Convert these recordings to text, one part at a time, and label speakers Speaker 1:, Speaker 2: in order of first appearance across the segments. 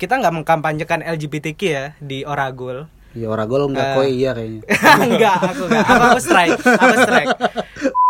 Speaker 1: kita nggak mengkampanyekan LGBTQ ya di Oragul.
Speaker 2: Iya Oragol
Speaker 3: Ah.
Speaker 2: enggak koi iya kayaknya.
Speaker 1: enggak, aku enggak. Aku, aku strike, aku strike.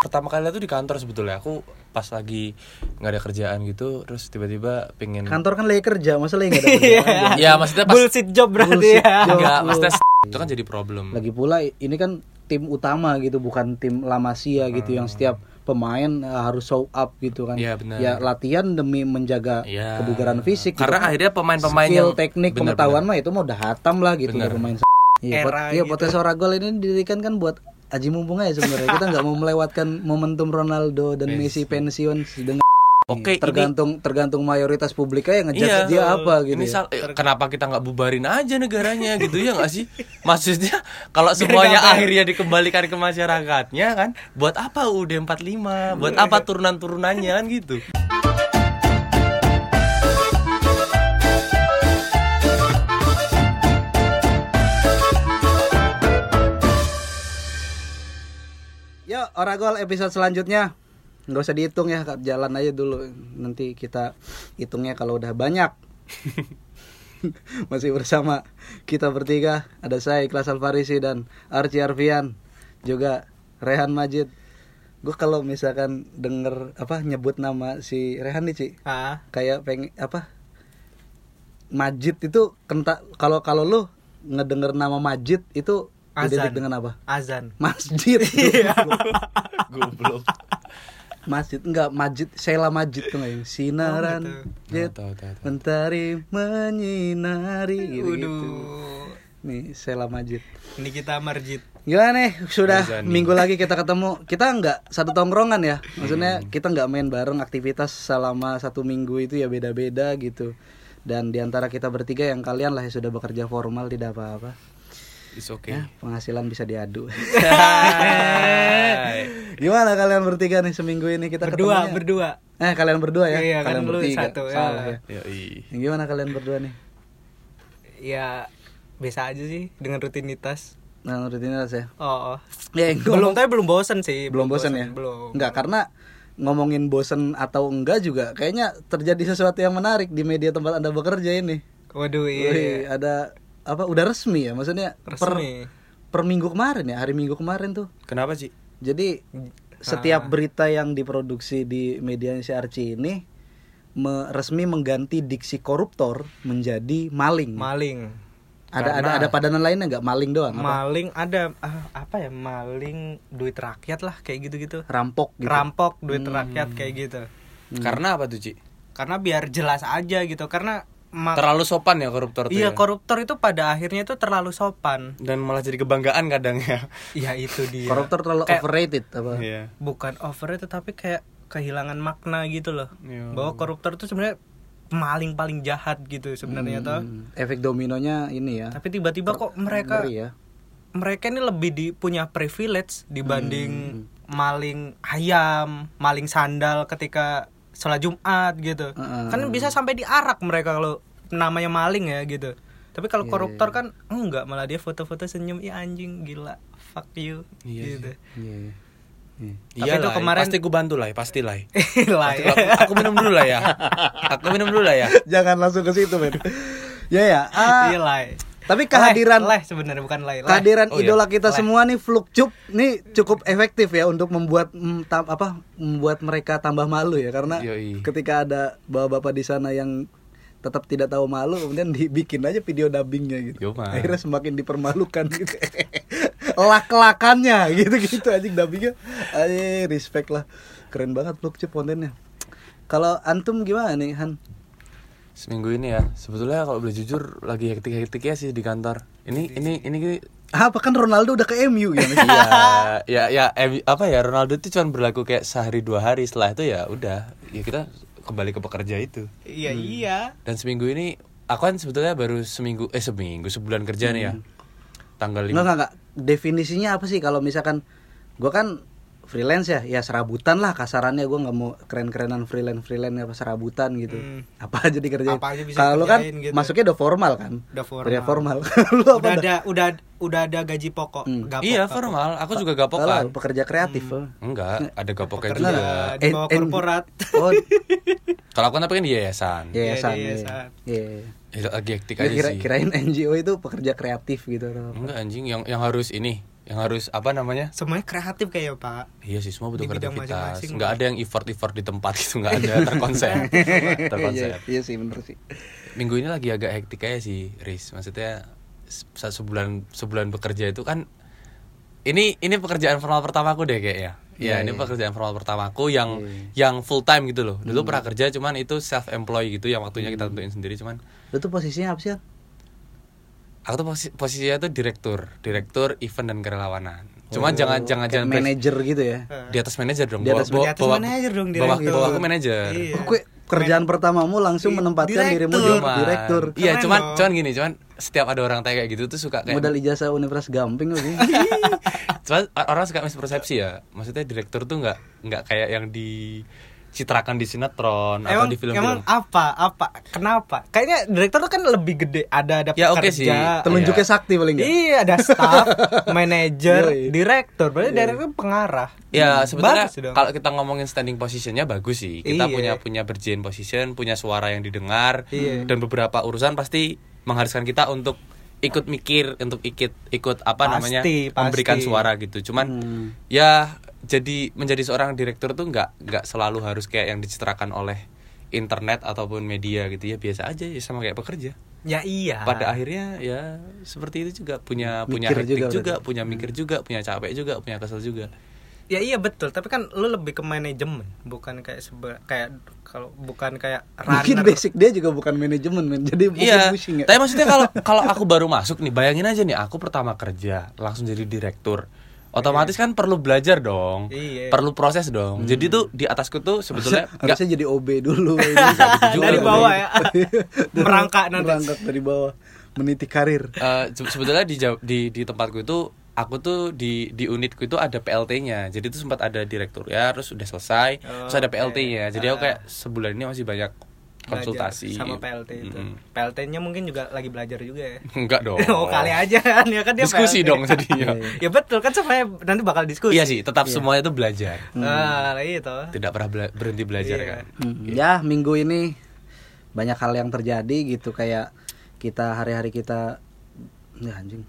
Speaker 3: pertama kali itu di kantor sebetulnya aku pas lagi nggak ada kerjaan gitu terus tiba-tiba pengen
Speaker 2: Kantor kan lagi kerja, masa lagi enggak ada kerjaan.
Speaker 3: ya maksudnya pas
Speaker 1: Bullshit job berarti
Speaker 2: Bullshit
Speaker 1: ya.
Speaker 2: job.
Speaker 3: nggak
Speaker 2: lu.
Speaker 3: maksudnya itu kan jadi problem
Speaker 2: Lagi pula ini kan tim utama gitu, bukan tim La Masia gitu yang setiap pemain eh, harus show up gitu kan.
Speaker 3: Ah. Iya, benar.
Speaker 2: Ya latihan demi menjaga
Speaker 3: Iya.
Speaker 2: kebugaran fisik. gitu
Speaker 3: karena
Speaker 2: kan.
Speaker 3: akhirnya pemain-pemain
Speaker 2: skill
Speaker 3: yang
Speaker 2: teknik
Speaker 3: Benar,
Speaker 2: pengetahuan mah itu mah udah hatam lah gitu ya
Speaker 3: Benar.
Speaker 2: pemain s***. Iya, pot-
Speaker 1: Era
Speaker 2: iya
Speaker 1: gitu.
Speaker 2: podcast Oragol ini didirikan kan buat Aji mumpung aja sebenarnya kita nggak mau melewatkan momentum Ronaldo dan Messi pensiun dengan
Speaker 3: Oke, ini-
Speaker 2: tergantung tergantung mayoritas publik aja ngejat
Speaker 3: Iya.
Speaker 2: dia apa gitu
Speaker 3: ini
Speaker 2: ya.
Speaker 3: sal- eh, kenapa kita nggak bubarin aja negaranya gitu ya nggak sih maksudnya kalau semuanya akhirnya dikembalikan ke masyarakatnya kan buat apa UUD 45 buat
Speaker 2: Iya.
Speaker 3: apa turunan turunannya kan gitu
Speaker 2: Yo Oragol Ya, episode selanjutnya nggak usah dihitung ya Kak. jalan aja dulu nanti kita hitungnya kalau udah banyak masih bersama kita bertiga ada saya Ikhlas Alfarisi dan Arci Arfian juga Rehan Majid gue kalau misalkan denger apa nyebut nama si Rehan nih Ci
Speaker 1: Ah,
Speaker 2: kayak pengen apa Majid itu kenta kalau kalau lu ngedenger nama Majid itu identik
Speaker 1: Azan.
Speaker 2: dengan apa
Speaker 1: azan.
Speaker 2: masjid
Speaker 3: goblok
Speaker 2: Masjid enggak Majid Sheila Majid tuh nggak yang sinaran
Speaker 1: Oh,
Speaker 2: Jet,
Speaker 3: Tahu, tahu, tahu.
Speaker 2: mentari menyinari gitu,
Speaker 1: Waduh.
Speaker 2: nih Sheila Majid
Speaker 1: Ini kita marjit.
Speaker 2: gimana nih sudah
Speaker 3: Muzani.
Speaker 2: minggu lagi kita ketemu kita nggak satu tongkrongan ya maksudnya kita nggak main bareng aktivitas selama satu minggu itu ya beda-beda gitu dan diantara kita bertiga yang kalian lah yang sudah bekerja formal tidak apa-apa
Speaker 3: It's
Speaker 2: Ya.
Speaker 3: okay.
Speaker 2: penghasilan bisa diadu
Speaker 3: Hai.
Speaker 2: gimana kalian bertiga nih seminggu ini kita
Speaker 1: Berdua,
Speaker 2: ketemunya?
Speaker 1: berdua.
Speaker 2: Eh kalian berdua ya?
Speaker 1: Iya, kan
Speaker 2: kalian
Speaker 1: lu
Speaker 2: bertiga.
Speaker 1: satu, ya.
Speaker 2: Salah ya.
Speaker 3: Yoi.
Speaker 2: Yang Gimana kalian berdua nih?
Speaker 1: Ya biasa aja sih dengan rutinitas.
Speaker 2: Nah, rutinitas ya.
Speaker 1: Oh, oh.
Speaker 2: Ya, yang
Speaker 1: belum
Speaker 2: ngomong-
Speaker 1: tapi belum bosen sih.
Speaker 2: belum bosan ya?
Speaker 1: Belum.
Speaker 2: Enggak, karena ngomongin bosen atau enggak juga kayaknya terjadi sesuatu yang menarik di media tempat Anda bekerja ini.
Speaker 1: Waduh, iya.
Speaker 2: Wih, ada apa udah resmi ya? Maksudnya per
Speaker 1: Resmi.
Speaker 2: per minggu kemarin ya, hari Minggu kemarin tuh.
Speaker 3: Kenapa sih?
Speaker 2: Jadi
Speaker 1: Ah.
Speaker 2: setiap berita yang diproduksi di media si Archie ini me- resmi mengganti diksi koruptor menjadi maling.
Speaker 1: Maling.
Speaker 2: ada ada ada padanan lainnya nggak maling doang? apa?
Speaker 1: Maling ada ah, apa ya? Maling duit rakyat lah kayak gitu-gitu.
Speaker 2: rampok gitu.
Speaker 1: Rampok duit
Speaker 3: Hmm.
Speaker 1: rakyat kayak gitu.
Speaker 3: Karena apa tuh, Ci?
Speaker 1: Karena biar jelas aja gitu. Karena ma-
Speaker 3: Terlalu sopan ya koruptor tuh.
Speaker 1: iya
Speaker 3: ya?
Speaker 1: koruptor itu pada akhirnya itu terlalu sopan.
Speaker 3: Dan malah jadi kebanggaan kadang ya.
Speaker 1: Ya itu dia.
Speaker 2: Koruptor terlalu
Speaker 1: Kayak-
Speaker 2: overrated apa?
Speaker 3: Iya.
Speaker 1: bukan over itu tapi kayak kehilangan makna gitu loh
Speaker 3: Iya.
Speaker 1: bahwa koruptor itu sebenarnya maling paling jahat gitu sebenarnya toh
Speaker 2: Hmm, efek dominonya ini ya.
Speaker 1: tapi tiba-tiba kok mereka
Speaker 2: Ngeri ya.
Speaker 1: mereka ini lebih di, punya privilege
Speaker 2: Hmm.
Speaker 1: dibanding maling ayam maling sandal ketika sholat jumat gitu
Speaker 2: Heeh.
Speaker 1: kan bisa sampai diarak mereka kalau namanya maling ya gitu tapi kalau
Speaker 2: Iya,
Speaker 1: koruptor kan enggak malah dia foto-foto senyum ya anjing gila fuck you
Speaker 3: Iya
Speaker 1: gitu
Speaker 2: Iya, iya. Iya.
Speaker 1: Tapi
Speaker 3: Iya
Speaker 1: itu kemarin-
Speaker 3: pasti gue bantu lah, ya, pasti lah.
Speaker 1: lah ya.
Speaker 3: Aku, aku minum dulu lah ya. Aku minum dulu lah ya.
Speaker 2: Jangan langsung ke situ, men. ya ya. ah,
Speaker 1: Iya, lah
Speaker 2: tapi kehadiran
Speaker 1: leh, leh sebenarnya bukan leh, leh.
Speaker 2: kehadiran
Speaker 3: Oh, iya.
Speaker 2: idola
Speaker 1: Leh.
Speaker 2: kita semua nih Flukcup nih cukup efektif ya untuk membuat mm, tam- apa membuat mereka tambah malu ya karena
Speaker 3: Yoi.
Speaker 2: ketika ada bapak-bapak di sana yang tetap tidak tahu malu kemudian dibikin aja video dubbingnya gitu
Speaker 3: Yo, Mas.
Speaker 2: akhirnya semakin dipermalukan gitu lak-lakannya gitu-gitu anjing dubbingnya aja respect lah keren banget Flukcup kontennya kalau antum gimana nih Han
Speaker 3: Seminggu ini ya. Sebetulnya kalau boleh jujur lagi hektik-hektik ya sih di kantor. Ini ini ini
Speaker 2: apa kan Ronaldo udah ke MU gitu
Speaker 1: Iya.
Speaker 3: ya ya ya em- apa ya Ronaldo itu cuma berlaku kayak sehari dua hari setelah itu ya udah ya kita kembali ke pekerja itu
Speaker 1: Iya
Speaker 2: Hmm.
Speaker 1: iya.
Speaker 3: dan seminggu ini aku kan sebetulnya baru seminggu eh seminggu sebulan kerja
Speaker 1: Hmm.
Speaker 3: nih ya tanggal
Speaker 2: Enggak,
Speaker 1: Nah,
Speaker 3: lima
Speaker 2: enggak, enggak. Definisinya apa sih kalau misalkan gua kan freelance ya ya serabutan lah kasarannya gue nggak mau keren-kerenan freelance freelance apa serabutan gitu apa aja dikerjain
Speaker 1: Hmm. Apa aja bisa
Speaker 2: kalau lu kan
Speaker 1: dikerjain gitu.
Speaker 2: masuknya udah formal kan
Speaker 1: Udah formal.
Speaker 2: udah formal lu apa Hmm.
Speaker 1: udah
Speaker 2: dah?
Speaker 1: ada udah udah ada gaji pokok gapok,
Speaker 3: iya
Speaker 1: gapok.
Speaker 3: formal aku juga gapok
Speaker 2: Kalau
Speaker 3: kan
Speaker 2: pekerja kreatif lo.
Speaker 3: enggak ada gapoknya
Speaker 1: Pekerja
Speaker 3: juga
Speaker 1: Hmm. Iya, di
Speaker 2: Eh,
Speaker 1: bawah
Speaker 2: eh,
Speaker 1: korporat
Speaker 2: oh
Speaker 3: kalau aku kan tapi kan di yayasan
Speaker 2: yayasan
Speaker 1: Iya,
Speaker 2: iya
Speaker 1: yayasan.
Speaker 2: iya
Speaker 3: itu lagi hektik
Speaker 2: Gua
Speaker 3: aja
Speaker 2: kira-
Speaker 3: sih
Speaker 2: kirain NGO itu pekerja kreatif gitu atau apa.
Speaker 3: enggak anjing yang yang harus ini yang harus apa namanya
Speaker 1: semuanya kreatif kayak pak
Speaker 3: Iya sih semua
Speaker 1: Di
Speaker 3: butuh
Speaker 1: bidang
Speaker 3: kreativitas.
Speaker 1: masing-masing.
Speaker 3: Enggak ada yang effort-effort di tempat gitu enggak ada terkonsep. terkonsep.
Speaker 2: Iya, iya sih bener sih
Speaker 3: Minggu ini lagi agak hektik aja sih, Riz. Maksudnya se- se- sebulan sebulan bekerja itu kan ini ini pekerjaan formal pertamaku
Speaker 1: Iya,
Speaker 3: deh kayaknya. Ya, ini pekerjaan formal pertamaku yang yang full time gitu loh.
Speaker 1: Hmm.
Speaker 3: Dulu pernah kerja cuman itu self employed gitu yang waktunya kita tentuin sendiri cuman
Speaker 2: lu tuh posisinya apa sih Al?
Speaker 3: aku tuh posi- posisinya tuh direktur, direktur event dan kerelawanan. Cuman jangan jangan
Speaker 2: Kayak
Speaker 3: jangan
Speaker 2: manager gitu ya
Speaker 3: di atas manajer dong.
Speaker 2: Di atas-
Speaker 1: Oh, di
Speaker 3: Bawa- bawa-
Speaker 1: atas
Speaker 3: bawa-
Speaker 1: manajer dong,
Speaker 3: Bawa
Speaker 1: direktur.
Speaker 3: bawa aku manajer.
Speaker 1: Iya.
Speaker 2: Oh, kue- kerjaan pertamamu langsung menempatkan dirimu di
Speaker 3: Cuman-
Speaker 2: direktur
Speaker 3: Iya,
Speaker 1: Keren
Speaker 3: cuman
Speaker 1: dong.
Speaker 3: cuman gini, cuman setiap ada orang tanya kayak gitu tuh suka kayak
Speaker 2: modal ijazah Universitas Gamping lagi
Speaker 1: Iya.
Speaker 3: cuman orang suka mispersepsi ya. Maksudnya direktur tuh nggak nggak kayak yang dicitrakan di sinetron Nah, atau
Speaker 1: emang
Speaker 3: di
Speaker 1: emang
Speaker 3: film-film.
Speaker 1: apa apa kenapa kayaknya direktur tuh kan lebih gede ada ada
Speaker 3: Ya, oke
Speaker 1: pekerja
Speaker 3: sih.
Speaker 2: telunjuknya sakti paling nggak
Speaker 1: Iya ada staff, manajer,
Speaker 2: Yoi.
Speaker 1: direktur. Berarti direktur pengarah.
Speaker 3: Ya
Speaker 1: Hmm,
Speaker 3: sebetulnya
Speaker 1: Bagus dong.
Speaker 3: kalau kita ngomongin standing positionnya bagus sih. Kita
Speaker 1: Iya.
Speaker 3: punya punya berjain position, punya suara yang didengar
Speaker 1: Iya.
Speaker 3: dan beberapa urusan pasti mengharuskan kita untuk ikut mikir, untuk ikut ikut apa
Speaker 1: Pasti,
Speaker 3: namanya
Speaker 1: pasti. Hmm.
Speaker 3: memberikan suara gitu. Cuman ya jadi menjadi seorang direktur tuh nggak nggak selalu harus kayak yang dicitrakan oleh internet ataupun media gitu ya biasa aja ya sama kayak pekerja.
Speaker 1: Ya iya.
Speaker 3: Pada akhirnya ya seperti itu juga punya punya
Speaker 2: Mikir
Speaker 3: hektik
Speaker 2: juga
Speaker 3: juga,
Speaker 2: berarti.
Speaker 3: punya
Speaker 1: Hmm.
Speaker 3: mikir juga, punya capek juga, punya kesel juga.
Speaker 1: Ya iya betul. Tapi kan lu lebih ke manajemen, bukan kayak sebe kayak kalau bukan kayak
Speaker 2: mungkin
Speaker 1: runner.
Speaker 2: basic dia juga bukan manajemen men jadi mungkin
Speaker 3: Iya.
Speaker 2: pusing ya
Speaker 3: Tapi maksudnya kalau kalau aku baru masuk nih, bayangin aja nih aku pertama kerja langsung jadi direktur. Otomatis kan perlu belajar dong.
Speaker 1: Iya.
Speaker 3: Perlu proses dong. Jadi tuh di atasku tuh sebetulnya nggak
Speaker 2: harusnya jadi OB dulu ini.
Speaker 1: juga. Dari bawah ya. Merangkak nanti.
Speaker 2: merangkak dari bawah meniti karir
Speaker 3: eh, se- sebetulnya di Jawa- di di tempatku itu aku tuh di di unitku itu ada PLT-nya. Jadi tuh sempat ada direktur ya, terus udah selesai, terus ada PLT-nya. Jadi aku kayak sebulan ini masih banyak
Speaker 1: Belajar
Speaker 3: konsultasi
Speaker 1: sama PLT itu.
Speaker 3: Mm-mm.
Speaker 1: PLT-nya mungkin juga lagi belajar juga ya.
Speaker 3: Enggak dong.
Speaker 1: Oh, kali aja kan ya kan dia
Speaker 3: Diskusi
Speaker 1: PLT.
Speaker 3: dong jadinya.
Speaker 1: ya betul kan supaya nanti bakal diskusi.
Speaker 3: Iya sih, tetap semuanya itu belajar.
Speaker 1: Nah, itu.
Speaker 3: tidak pernah bela- berhenti belajar kan
Speaker 2: Hmm, ya minggu ini banyak hal yang terjadi gitu kayak kita hari-hari kita ya anjing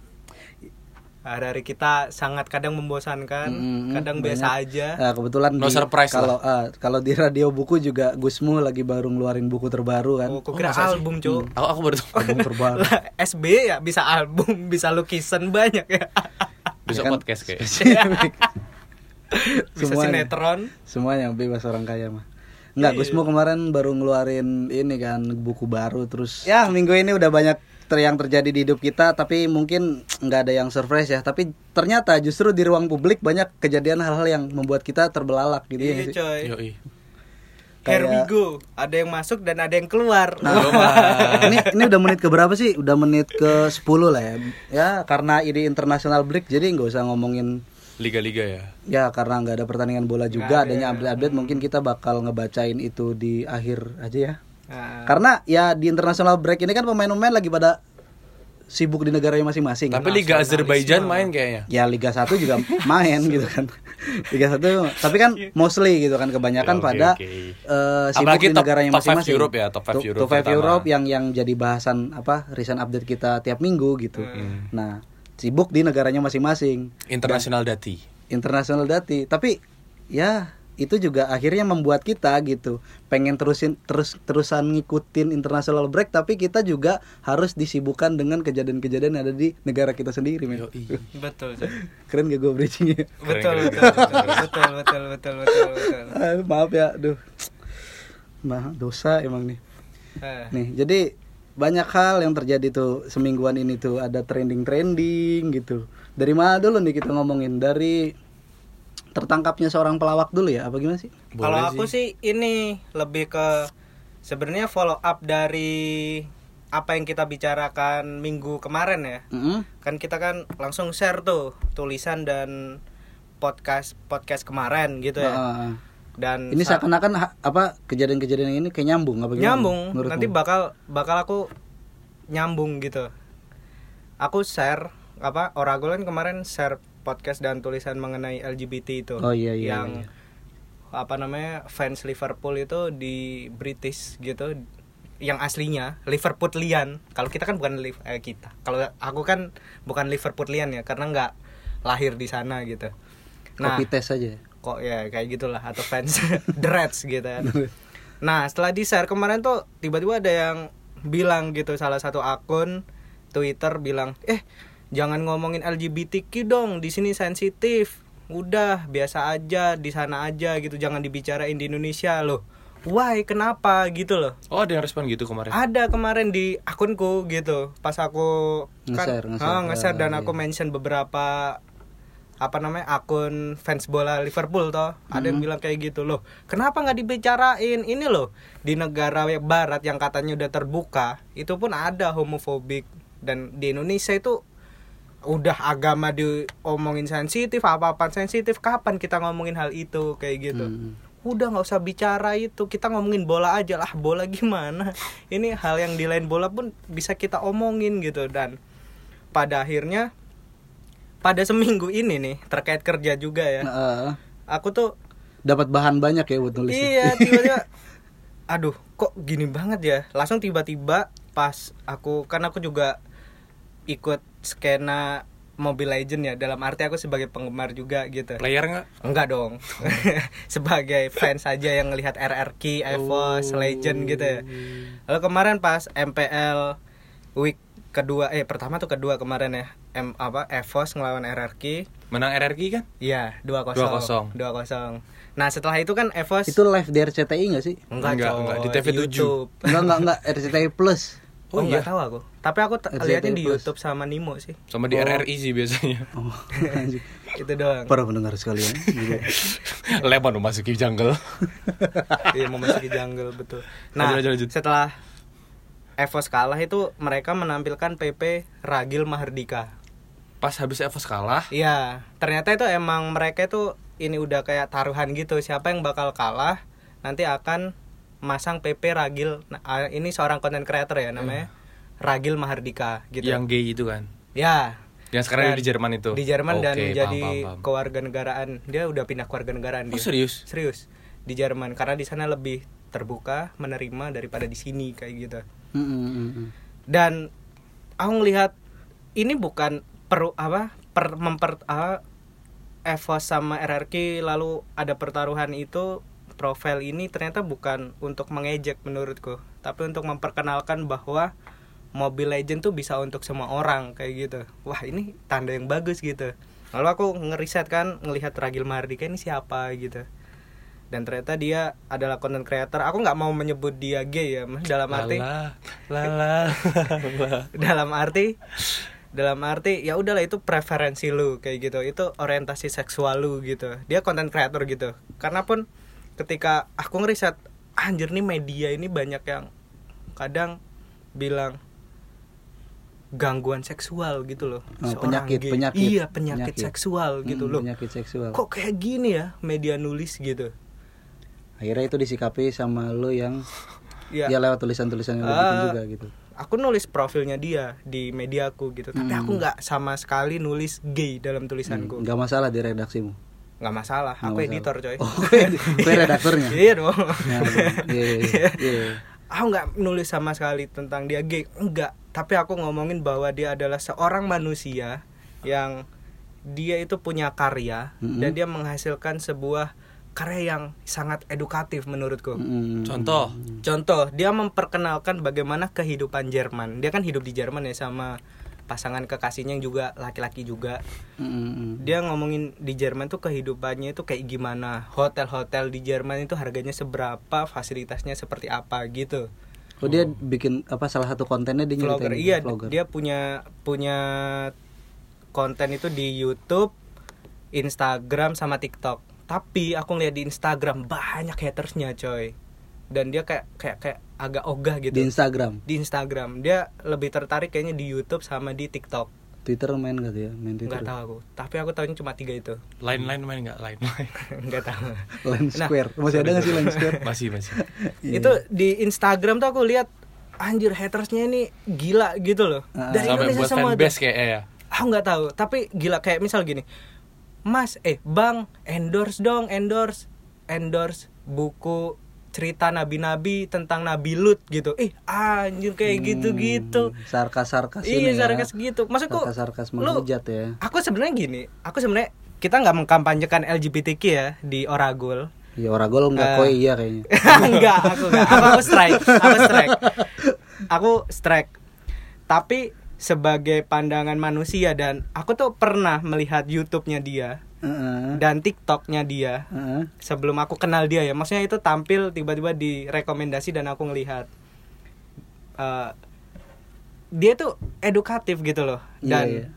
Speaker 1: Hari-hari kita sangat kadang membosankan,
Speaker 2: Mm-mm,
Speaker 1: kadang
Speaker 2: banyak.
Speaker 1: biasa aja.
Speaker 2: Eh, kebetulan
Speaker 3: No
Speaker 2: di-
Speaker 3: surprise
Speaker 2: kalau eh, kalau di radio buku juga Gusmu lagi baru ngeluarin buku terbaru kan
Speaker 1: Oh, aku kira album, Cuk.
Speaker 3: aku aku baru tahu.
Speaker 2: Buku terbaru
Speaker 1: Lah, SB ya bisa album, bisa lukisan banyak ya.
Speaker 2: Ya
Speaker 3: besok
Speaker 2: kan?
Speaker 3: podcast kayak
Speaker 2: Spesifik.
Speaker 1: bisa
Speaker 2: Semuanya.
Speaker 1: sinetron.
Speaker 2: Semuanya bebas orang kaya mah. Enggak, Gusmu kemarin baru ngeluarin ini kan buku baru terus ya minggu ini udah banyak ter yang terjadi di hidup kita tapi mungkin nggak ada yang surprise ya tapi ternyata justru di ruang publik banyak kejadian hal-hal yang membuat kita terbelalak gitu ya
Speaker 1: Iya,
Speaker 2: nggak sih?
Speaker 1: coy.
Speaker 3: yoi
Speaker 1: Here we
Speaker 2: Kayak- Nah,
Speaker 1: go. Ada yang masuk dan ada yang keluar.
Speaker 2: ini ini udah menit ke berapa sih? Udah menit ke 10 lah ya. Ya karena ini international break jadi nggak usah ngomongin
Speaker 3: liga-liga ya
Speaker 2: Ya karena nggak ada pertandingan bola juga adanya update-update mungkin kita bakal ngebacain itu di akhir aja ya.
Speaker 1: Nah,
Speaker 2: Karena ya di international break ini kan pemain-pemain lagi pada sibuk di negaranya masing-masing.
Speaker 3: tapi liga Azerbaijan main kayaknya
Speaker 2: Ya Liga 1 juga main gitu kan. Liga 1 tapi kan mostly gitu kan kebanyakan
Speaker 3: Ya, Oke,
Speaker 2: pada
Speaker 3: oke.
Speaker 2: eh, sibuk
Speaker 3: Apalagi
Speaker 2: di
Speaker 3: top-
Speaker 2: negaranya
Speaker 3: top five
Speaker 2: masing-masing.
Speaker 3: Europe ya, top five
Speaker 2: Top-
Speaker 3: Europe
Speaker 2: top five
Speaker 3: terutama.
Speaker 2: Europe yang yang jadi bahasan apa recent update kita tiap minggu gitu.
Speaker 3: Hmm.
Speaker 2: Nah, sibuk di negaranya masing-masing
Speaker 3: internasional dati
Speaker 2: international dati tapi ya itu juga akhirnya membuat kita gitu pengen terusin terus terusan ngikutin international break tapi kita juga harus disibukkan dengan kejadian-kejadian yang ada di negara kita sendiri men
Speaker 1: betul, coy.
Speaker 2: keren gak gue bridgingnya
Speaker 1: Betul, betul, betul, betul, betul, betul, betul, betul.
Speaker 2: Ah, maaf ya aduh Nah, dosa emang nih
Speaker 1: Eh,
Speaker 2: nih jadi banyak hal yang terjadi tuh semingguan ini tuh ada trending-trending gitu dari mana dulu nih kita ngomongin dari tertangkapnya seorang pelawak dulu ya apa gimana sih
Speaker 1: Kalau aku sih ini lebih ke sebenarnya follow up dari apa yang kita bicarakan minggu kemarin ya.
Speaker 2: Mm-mm.
Speaker 1: kan kita kan langsung share tuh tulisan dan podcast podcast kemarin gitu ya.
Speaker 2: Heeh.
Speaker 1: Dan
Speaker 2: ini
Speaker 1: sa-
Speaker 2: seakan-akan ha- apa kejadian-kejadian ini kayak nyambung apa gimana?
Speaker 1: nyambung.
Speaker 2: menurutmu?
Speaker 1: Nanti bakal bakal aku nyambung gitu. Aku share apa Oragol kan kemarin share podcast dan tulisan mengenai LGBT itu.
Speaker 2: Oh, iya, iya,
Speaker 1: yang
Speaker 2: iya.
Speaker 1: apa namanya fans Liverpool itu di British gitu yang aslinya Liverpoolian. Kalau kita kan bukan Liv- eh, kita. Kalau aku kan bukan Liverpoolian ya karena nggak lahir di sana gitu.
Speaker 2: Copy test aja.
Speaker 1: kok ya kayak gitulah atau fans The Reds gitu kan. Nah setelah di share kemarin tuh tiba-tiba ada yang bilang gitu salah satu akun Twitter bilang eh jangan ngomongin LGBTQ dong di sini sensitif udah biasa aja di sana aja gitu jangan dibicarain di Indonesia loh why kenapa gitu loh
Speaker 3: Oh ada yang respon gitu kemarin.
Speaker 1: ada kemarin di akunku gitu pas aku
Speaker 2: Nge-share, nge-share.
Speaker 1: Ah, nge-share dan
Speaker 2: Ah,
Speaker 1: aku mention beberapa apa namanya akun fans bola Liverpool toh ada yang bilang kayak gitu loh kenapa nggak dibicarain ini loh di negara barat yang katanya udah terbuka itu pun ada homofobik dan di Indonesia itu udah agama diomongin sensitif apa apa sensitif kapan kita ngomongin hal itu kayak gitu udah nggak usah bicara itu kita ngomongin bola aja lah bola gimana ini hal yang di lain bola pun bisa kita omongin gitu dan pada akhirnya pada seminggu ini nih terkait kerja juga ya
Speaker 2: Heeh.
Speaker 1: aku tuh
Speaker 2: dapat bahan banyak ya buat nulis.
Speaker 1: iya tiba-tiba aduh kok gini banget ya langsung tiba-tiba pas aku kan aku juga ikut skena Mobile Legend ya dalam arti aku sebagai penggemar juga gitu
Speaker 3: Player nggak?
Speaker 1: Enggak dong. Sebagai fans aja yang ngelihat RRQ, EVOS, Legend gitu ya. Lalu kemarin pas MPL week kedua eh pertama tuh kedua kemarin ya. M apa EVOS ngelawan RRQ.
Speaker 3: Menang RRQ kan?
Speaker 1: Iya, 2-0.
Speaker 3: 2-0.
Speaker 1: 2-0. Nah, setelah itu kan EVOS
Speaker 2: Itu live di RCTI gak sih?
Speaker 1: enggak,
Speaker 3: Enggak,
Speaker 1: coy.
Speaker 3: enggak, di TV7.
Speaker 1: YouTube.
Speaker 2: Enggak enggak enggak RCTI Plus.
Speaker 1: Oh, enggak tahu aku. Tapi aku t-
Speaker 2: RCTI
Speaker 1: lihatnya di
Speaker 2: Plus.
Speaker 1: YouTube sama Nimo sih.
Speaker 3: Sama di RRI sih biasanya.
Speaker 2: Oh, anjing.
Speaker 1: Itu Gitu doang.
Speaker 2: Para pendengar sekalian. Gitu.
Speaker 3: Leman memasuki jungle.
Speaker 1: Iya memasuki jungle betul. Nah
Speaker 3: Lanjut, lanjut, lanjut.
Speaker 1: setelah Evos kalah itu mereka menampilkan PP Ragil Mahardika.
Speaker 3: Pas habis Evos kalah,
Speaker 1: Iya ternyata itu emang mereka itu ini udah kayak taruhan gitu siapa yang bakal kalah nanti akan masang PP Ragil. Nah, ah, ini seorang content creator ya namanya Ragil Mahardika gitu.
Speaker 3: Hmm. yang gay itu kan.
Speaker 1: Ya
Speaker 3: Yang sekarang di Jerman itu.
Speaker 1: di Jerman dan
Speaker 3: Oke,
Speaker 1: jadi
Speaker 3: paham, paham, paham.
Speaker 1: kewarganegaraan dia udah pindah kewarganegaraan
Speaker 3: Oh,
Speaker 1: dia.
Speaker 3: serius?
Speaker 1: Serius di Jerman karena di sana lebih terbuka menerima daripada di sini kayak gitu.
Speaker 2: Mm, mm, mm.
Speaker 1: Dan aku ngelihat ini bukan per apa per memper apa, Evos sama RRQ lalu ada pertaruhan itu profil ini ternyata bukan untuk mengejek menurutku tapi untuk memperkenalkan bahwa Mobile Legend tuh bisa untuk semua orang kayak gitu wah ini tanda yang bagus gitu lalu aku ngeriset kan ngelihat Ragil Mahardika ini siapa gitu dan ternyata dia adalah content creator aku nggak mau menyebut dia gay ya dalam arti
Speaker 3: Lala, lala, lala.
Speaker 1: dalam arti dalam arti ya udahlah itu preferensi lu kayak gitu itu orientasi seksual lu gitu dia konten creator gitu karena pun ketika aku ngeriset anjir nih media ini banyak yang kadang bilang gangguan seksual gitu loh
Speaker 2: Oh,
Speaker 1: seorang
Speaker 2: penyakit,
Speaker 1: gay.
Speaker 2: penyakit,
Speaker 1: iya penyakit,
Speaker 2: penyakit.
Speaker 1: seksual gitu
Speaker 2: Mm,
Speaker 1: loh
Speaker 2: Penyakit seksual.
Speaker 1: kok kayak gini ya media nulis gitu
Speaker 2: Akhirnya itu disikapi sama lo yang
Speaker 1: ya
Speaker 2: ya lewat tulisan-tulisan yang lo bikin
Speaker 1: Ah.
Speaker 2: juga gitu.
Speaker 1: aku nulis profilnya dia di media aku gitu tapi
Speaker 2: Hmm.
Speaker 1: aku nggak sama sekali nulis gay dalam tulisanku
Speaker 2: Enggak Mm, masalah di redaksimu.
Speaker 1: nggak masalah aku
Speaker 2: masalah.
Speaker 1: editor coy
Speaker 2: Oh, gue redaktornya.
Speaker 1: iya dong
Speaker 2: Nah, Iya. iya, iya.
Speaker 1: aku nggak nulis sama sekali tentang dia gay enggak tapi aku ngomongin bahwa dia adalah seorang manusia yang dia itu punya karya
Speaker 2: Mhm.
Speaker 1: dan dia menghasilkan sebuah karya yang sangat edukatif menurutku
Speaker 2: Mm,
Speaker 3: Contoh,
Speaker 1: Contoh, dia memperkenalkan bagaimana kehidupan Jerman. Dia kan hidup di Jerman ya sama pasangan kekasihnya yang juga laki-laki juga.
Speaker 2: mm, mm, mm.
Speaker 1: Dia ngomongin di Jerman tuh kehidupannya itu kayak gimana. Hotel-hotel di Jerman itu harganya seberapa, fasilitasnya seperti apa gitu.
Speaker 2: Oh dia bikin apa salah satu kontennya dia nyeritain
Speaker 1: Vlogger.
Speaker 2: gitu,
Speaker 1: Iya,
Speaker 2: vlogger.
Speaker 1: dia punya punya konten itu di YouTube, Instagram sama TikTok. Tapi aku ngeliat di Instagram banyak hatersnya, coy. Dan dia kayak kayak kayak agak ogah gitu.
Speaker 2: di Instagram.
Speaker 1: di Instagram dia lebih tertarik kayaknya di YouTube sama di TikTok
Speaker 2: Twitter main gak tuh ya? Main Twitter.
Speaker 1: nggak tahu aku tapi aku tahunya cuma tiga itu
Speaker 3: Lain-lain main nggak? Lain-lain.
Speaker 1: nggak tahu
Speaker 2: Line
Speaker 1: Nah,
Speaker 2: Square. Masih ada gak sih Line Square?
Speaker 3: masih masih.
Speaker 2: Iya.
Speaker 1: itu di Instagram tuh aku lihat anjir hatersnya ini gila gitu loh
Speaker 2: Ah,
Speaker 1: dari
Speaker 3: Sampai
Speaker 1: Indonesia
Speaker 3: buat
Speaker 1: semua tuh.
Speaker 3: fanbase kayaknya ya.
Speaker 1: aku nggak tahu tapi gila kayak misal gini Mas eh Bang endorse dong endorse endorse buku cerita nabi-nabi tentang Nabi Lut gitu ih anjir kayak gitu-gitu
Speaker 2: Sarkas-sarkas
Speaker 1: gitu. iya
Speaker 2: ini Hmm, ya.
Speaker 1: sarkas gitu maksudku
Speaker 2: Sarkas-sarkas
Speaker 1: lu
Speaker 2: menghujat ya.
Speaker 1: aku sebenarnya gini aku sebenarnya kita nggak mengkampanyekan LGBTQ ya di Oragul
Speaker 2: Ya Oragol
Speaker 1: Ah.
Speaker 2: enggak koi iya kayaknya.
Speaker 1: enggak aku enggak aku, aku strike aku strike aku strike tapi sebagai pandangan manusia dan aku tuh pernah melihat YouTube-nya dia
Speaker 2: Heeh.
Speaker 1: dan TikTok-nya dia
Speaker 2: Heeh.
Speaker 1: sebelum aku kenal dia ya maksudnya itu tampil tiba-tiba di rekomendasi dan aku ngelihat Eh, dia tuh edukatif gitu loh dan
Speaker 2: Iya, iya.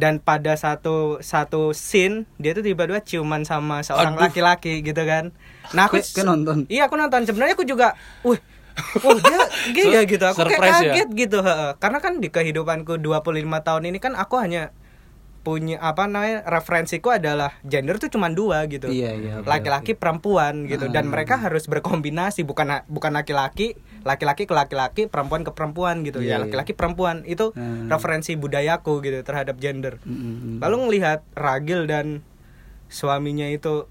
Speaker 1: dan pada satu satu scene dia tuh tiba-tiba ciuman sama seorang laki-laki gitu kan nah aku
Speaker 2: Kok- kok nonton?
Speaker 1: iya aku nonton sebenarnya aku juga wah Wah dia gay ya gitu Aku
Speaker 3: Surprise ya?
Speaker 1: kayak kaget gitu heeh. Karena kan di kehidupanku 25 tahun ini kan aku hanya punya apa namanya referensiku adalah gender tuh cuma dua gitu
Speaker 2: Iya, iya, oke, Ah.
Speaker 1: laki-laki perempuan gitu dan mereka harus berkombinasi bukan bukan laki-laki laki-laki ke laki-laki perempuan ke perempuan gitu ya
Speaker 2: Iya, iya.
Speaker 1: laki-laki perempuan itu
Speaker 2: Hmm.
Speaker 1: referensi budayaku gitu terhadap gender
Speaker 2: Mm-mm.
Speaker 1: lalu ngelihat Ragil dan suaminya itu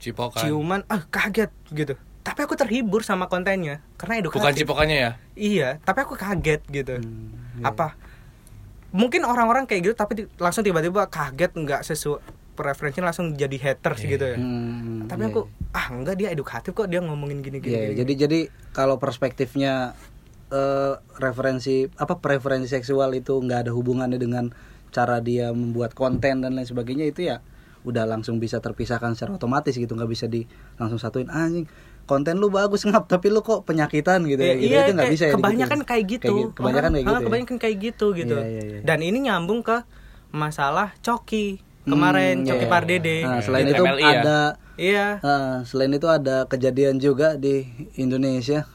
Speaker 3: Cipokan.
Speaker 1: ciuman ah kaget gitu tapi aku terhibur sama kontennya karena
Speaker 3: Bukan
Speaker 1: edukatif
Speaker 3: cipokannya ya?
Speaker 1: iya tapi aku kaget gitu
Speaker 2: Hmm, iya.
Speaker 1: apa mungkin orang-orang kayak gitu tapi di- langsung tiba-tiba kaget nggak sesuai preferensinya langsung jadi haters gitu ya
Speaker 2: Iya. Hmm,
Speaker 1: tapi
Speaker 2: iya,
Speaker 1: aku ah enggak dia edukatif kok dia ngomongin gini gini,
Speaker 2: Iya, iya.
Speaker 1: gini.
Speaker 2: jadi jadi kalau perspektifnya eh, referensi apa preferensi seksual itu nggak ada hubungannya dengan cara dia membuat konten dan lain sebagainya itu ya udah langsung bisa terpisahkan secara otomatis gitu nggak bisa di langsung satuin anjing konten lu bagus ngap tapi lu kok penyakitan gitu
Speaker 1: Iya,
Speaker 2: ya, gitu.
Speaker 1: iya,
Speaker 2: itu nggak
Speaker 1: kayak-
Speaker 2: bisa ya digituin.
Speaker 1: kebanyakan kayak gitu,
Speaker 2: kebanyakan
Speaker 1: Orang-
Speaker 2: kayak gitu
Speaker 1: ah,
Speaker 2: ya.
Speaker 1: kebanyakan kayak gitu gitu
Speaker 2: Iya, iya, iya.
Speaker 1: dan ini nyambung ke masalah coki kemarin
Speaker 2: Hmm,
Speaker 1: coki
Speaker 2: iya.
Speaker 1: pardede
Speaker 2: Nah, selain
Speaker 3: Di
Speaker 2: itu
Speaker 3: MLI ya?
Speaker 2: ada
Speaker 1: iya
Speaker 2: eh, selain itu ada kejadian juga di Indonesia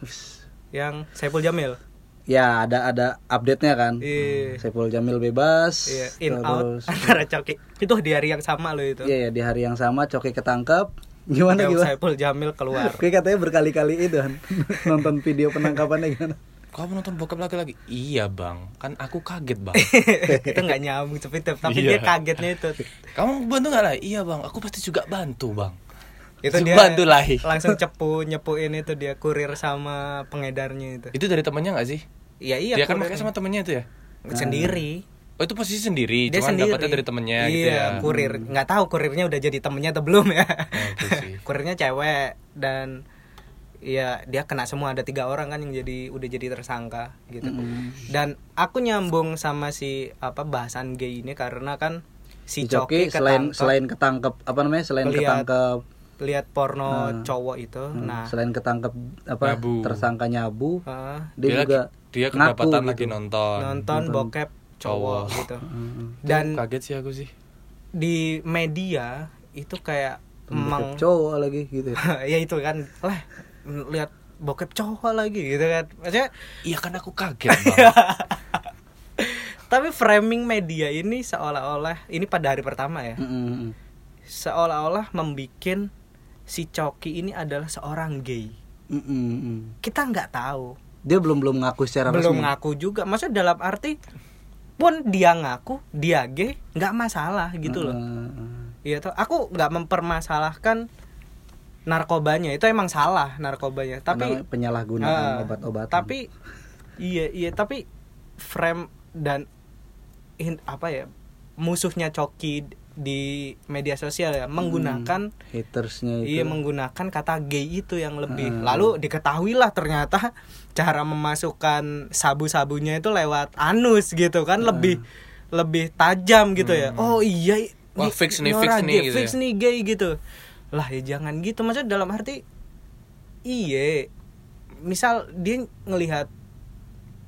Speaker 1: yang Saiful Jamil
Speaker 2: ya ada ada update nya kan
Speaker 1: Iya.
Speaker 2: Saiful Jamil bebas
Speaker 1: iya in
Speaker 2: terus
Speaker 1: out antara coki itu di hari yang sama loh itu
Speaker 2: iya ya, di hari yang sama Coki ketangkep gimana
Speaker 1: yang
Speaker 2: gimana
Speaker 1: Saiful Jamil keluar
Speaker 2: Coki katanya berkali-kali itu kan nonton video penangkapannya gimana
Speaker 3: Kamu nonton bokep lagi-lagi? Iya bang, kan aku kaget bang
Speaker 1: itu nggak nyambung sepitip tapi dia
Speaker 3: Iya.
Speaker 1: kagetnya itu
Speaker 3: Kamu bantu nggak lah? Iya bang, aku pasti juga bantu bang
Speaker 1: itu dia Iya,
Speaker 3: Bantu lah.
Speaker 1: langsung cepu nyepuin itu dia kurir sama pengedarnya itu
Speaker 3: Itu dari temennya nggak sih?
Speaker 1: iya iya
Speaker 3: Dia kan
Speaker 1: kurirnya.
Speaker 3: pakai sama temennya itu ya?
Speaker 1: sendiri
Speaker 3: Oh itu posisi sendiri,
Speaker 1: dia
Speaker 3: cuman
Speaker 1: sendiri
Speaker 3: dapatnya dari temennya
Speaker 1: iya,
Speaker 3: gitu ya
Speaker 1: kurir nggak tahu kurirnya udah jadi temennya atau belum ya
Speaker 3: itu gitu sih.
Speaker 1: kurirnya cewek dan ya dia kena semua ada tiga orang kan yang jadi udah jadi tersangka gitu dan aku nyambung sama si apa bahasan gay ini karena kan si coki,
Speaker 2: selain
Speaker 1: ketangkep
Speaker 2: selain ketangkep apa namanya selain
Speaker 1: Lihat.
Speaker 2: ketangkep
Speaker 1: lihat
Speaker 2: Nah.
Speaker 1: porno cowok itu
Speaker 2: hmm,
Speaker 1: nah
Speaker 2: selain ketangkep apa
Speaker 3: Nyabu.
Speaker 2: tersangka nyabu
Speaker 1: eh,
Speaker 2: dia,
Speaker 3: Dia,
Speaker 2: juga
Speaker 3: dia
Speaker 2: ngaku
Speaker 3: kedapatan
Speaker 2: gitu.
Speaker 3: lagi nonton
Speaker 1: nonton bokep cowok gitu
Speaker 2: Mm-mm.
Speaker 1: dan
Speaker 3: Kaget sih aku sih
Speaker 1: di media itu kayak
Speaker 2: Bokep
Speaker 1: emang
Speaker 2: cowok lagi gitu ya.
Speaker 1: ya itu kan lah lihat bokep cowok lagi gitu kan maksudnya
Speaker 3: Iya kan aku kaget bang
Speaker 1: tapi framing media ini seolah-olah ini pada hari pertama ya
Speaker 2: Mm-mm.
Speaker 1: seolah-olah membikin si coki ini adalah seorang gay
Speaker 2: Mm-mm, mm-mm.
Speaker 1: kita nggak tahu
Speaker 2: dia belum belum ngaku secara
Speaker 1: belum
Speaker 2: resmi
Speaker 1: ngaku juga maksudnya dalam arti pun dia ngaku dia gay nggak masalah gitu loh
Speaker 2: Mm-mm.
Speaker 1: Iya tuh, aku nggak mempermasalahkan narkobanya itu emang salah narkobanya, tapi
Speaker 2: Namanya penyalahgunaan
Speaker 1: Ah,
Speaker 2: obat-obatan
Speaker 1: Tapi iya iya tapi frame dan in- apa ya musuhnya coki di media sosial ya menggunakan
Speaker 2: hatersnya itu
Speaker 1: Iya menggunakan kata gay itu yang lebih
Speaker 2: Hmm.
Speaker 1: lalu diketahuilah ternyata cara memasukkan sabu-sabunya itu lewat anus gitu kan lebih lebih tajam gitu ya. Oh iya. i-
Speaker 3: Wah,
Speaker 1: ni-
Speaker 3: fix
Speaker 1: ni
Speaker 3: nih, fix
Speaker 1: orang
Speaker 3: nih
Speaker 1: gay,
Speaker 3: gitu
Speaker 1: fix
Speaker 3: ya.
Speaker 1: nih gay gitu. Lah ya jangan gitu maksudnya dalam arti iya misal dia ngelihat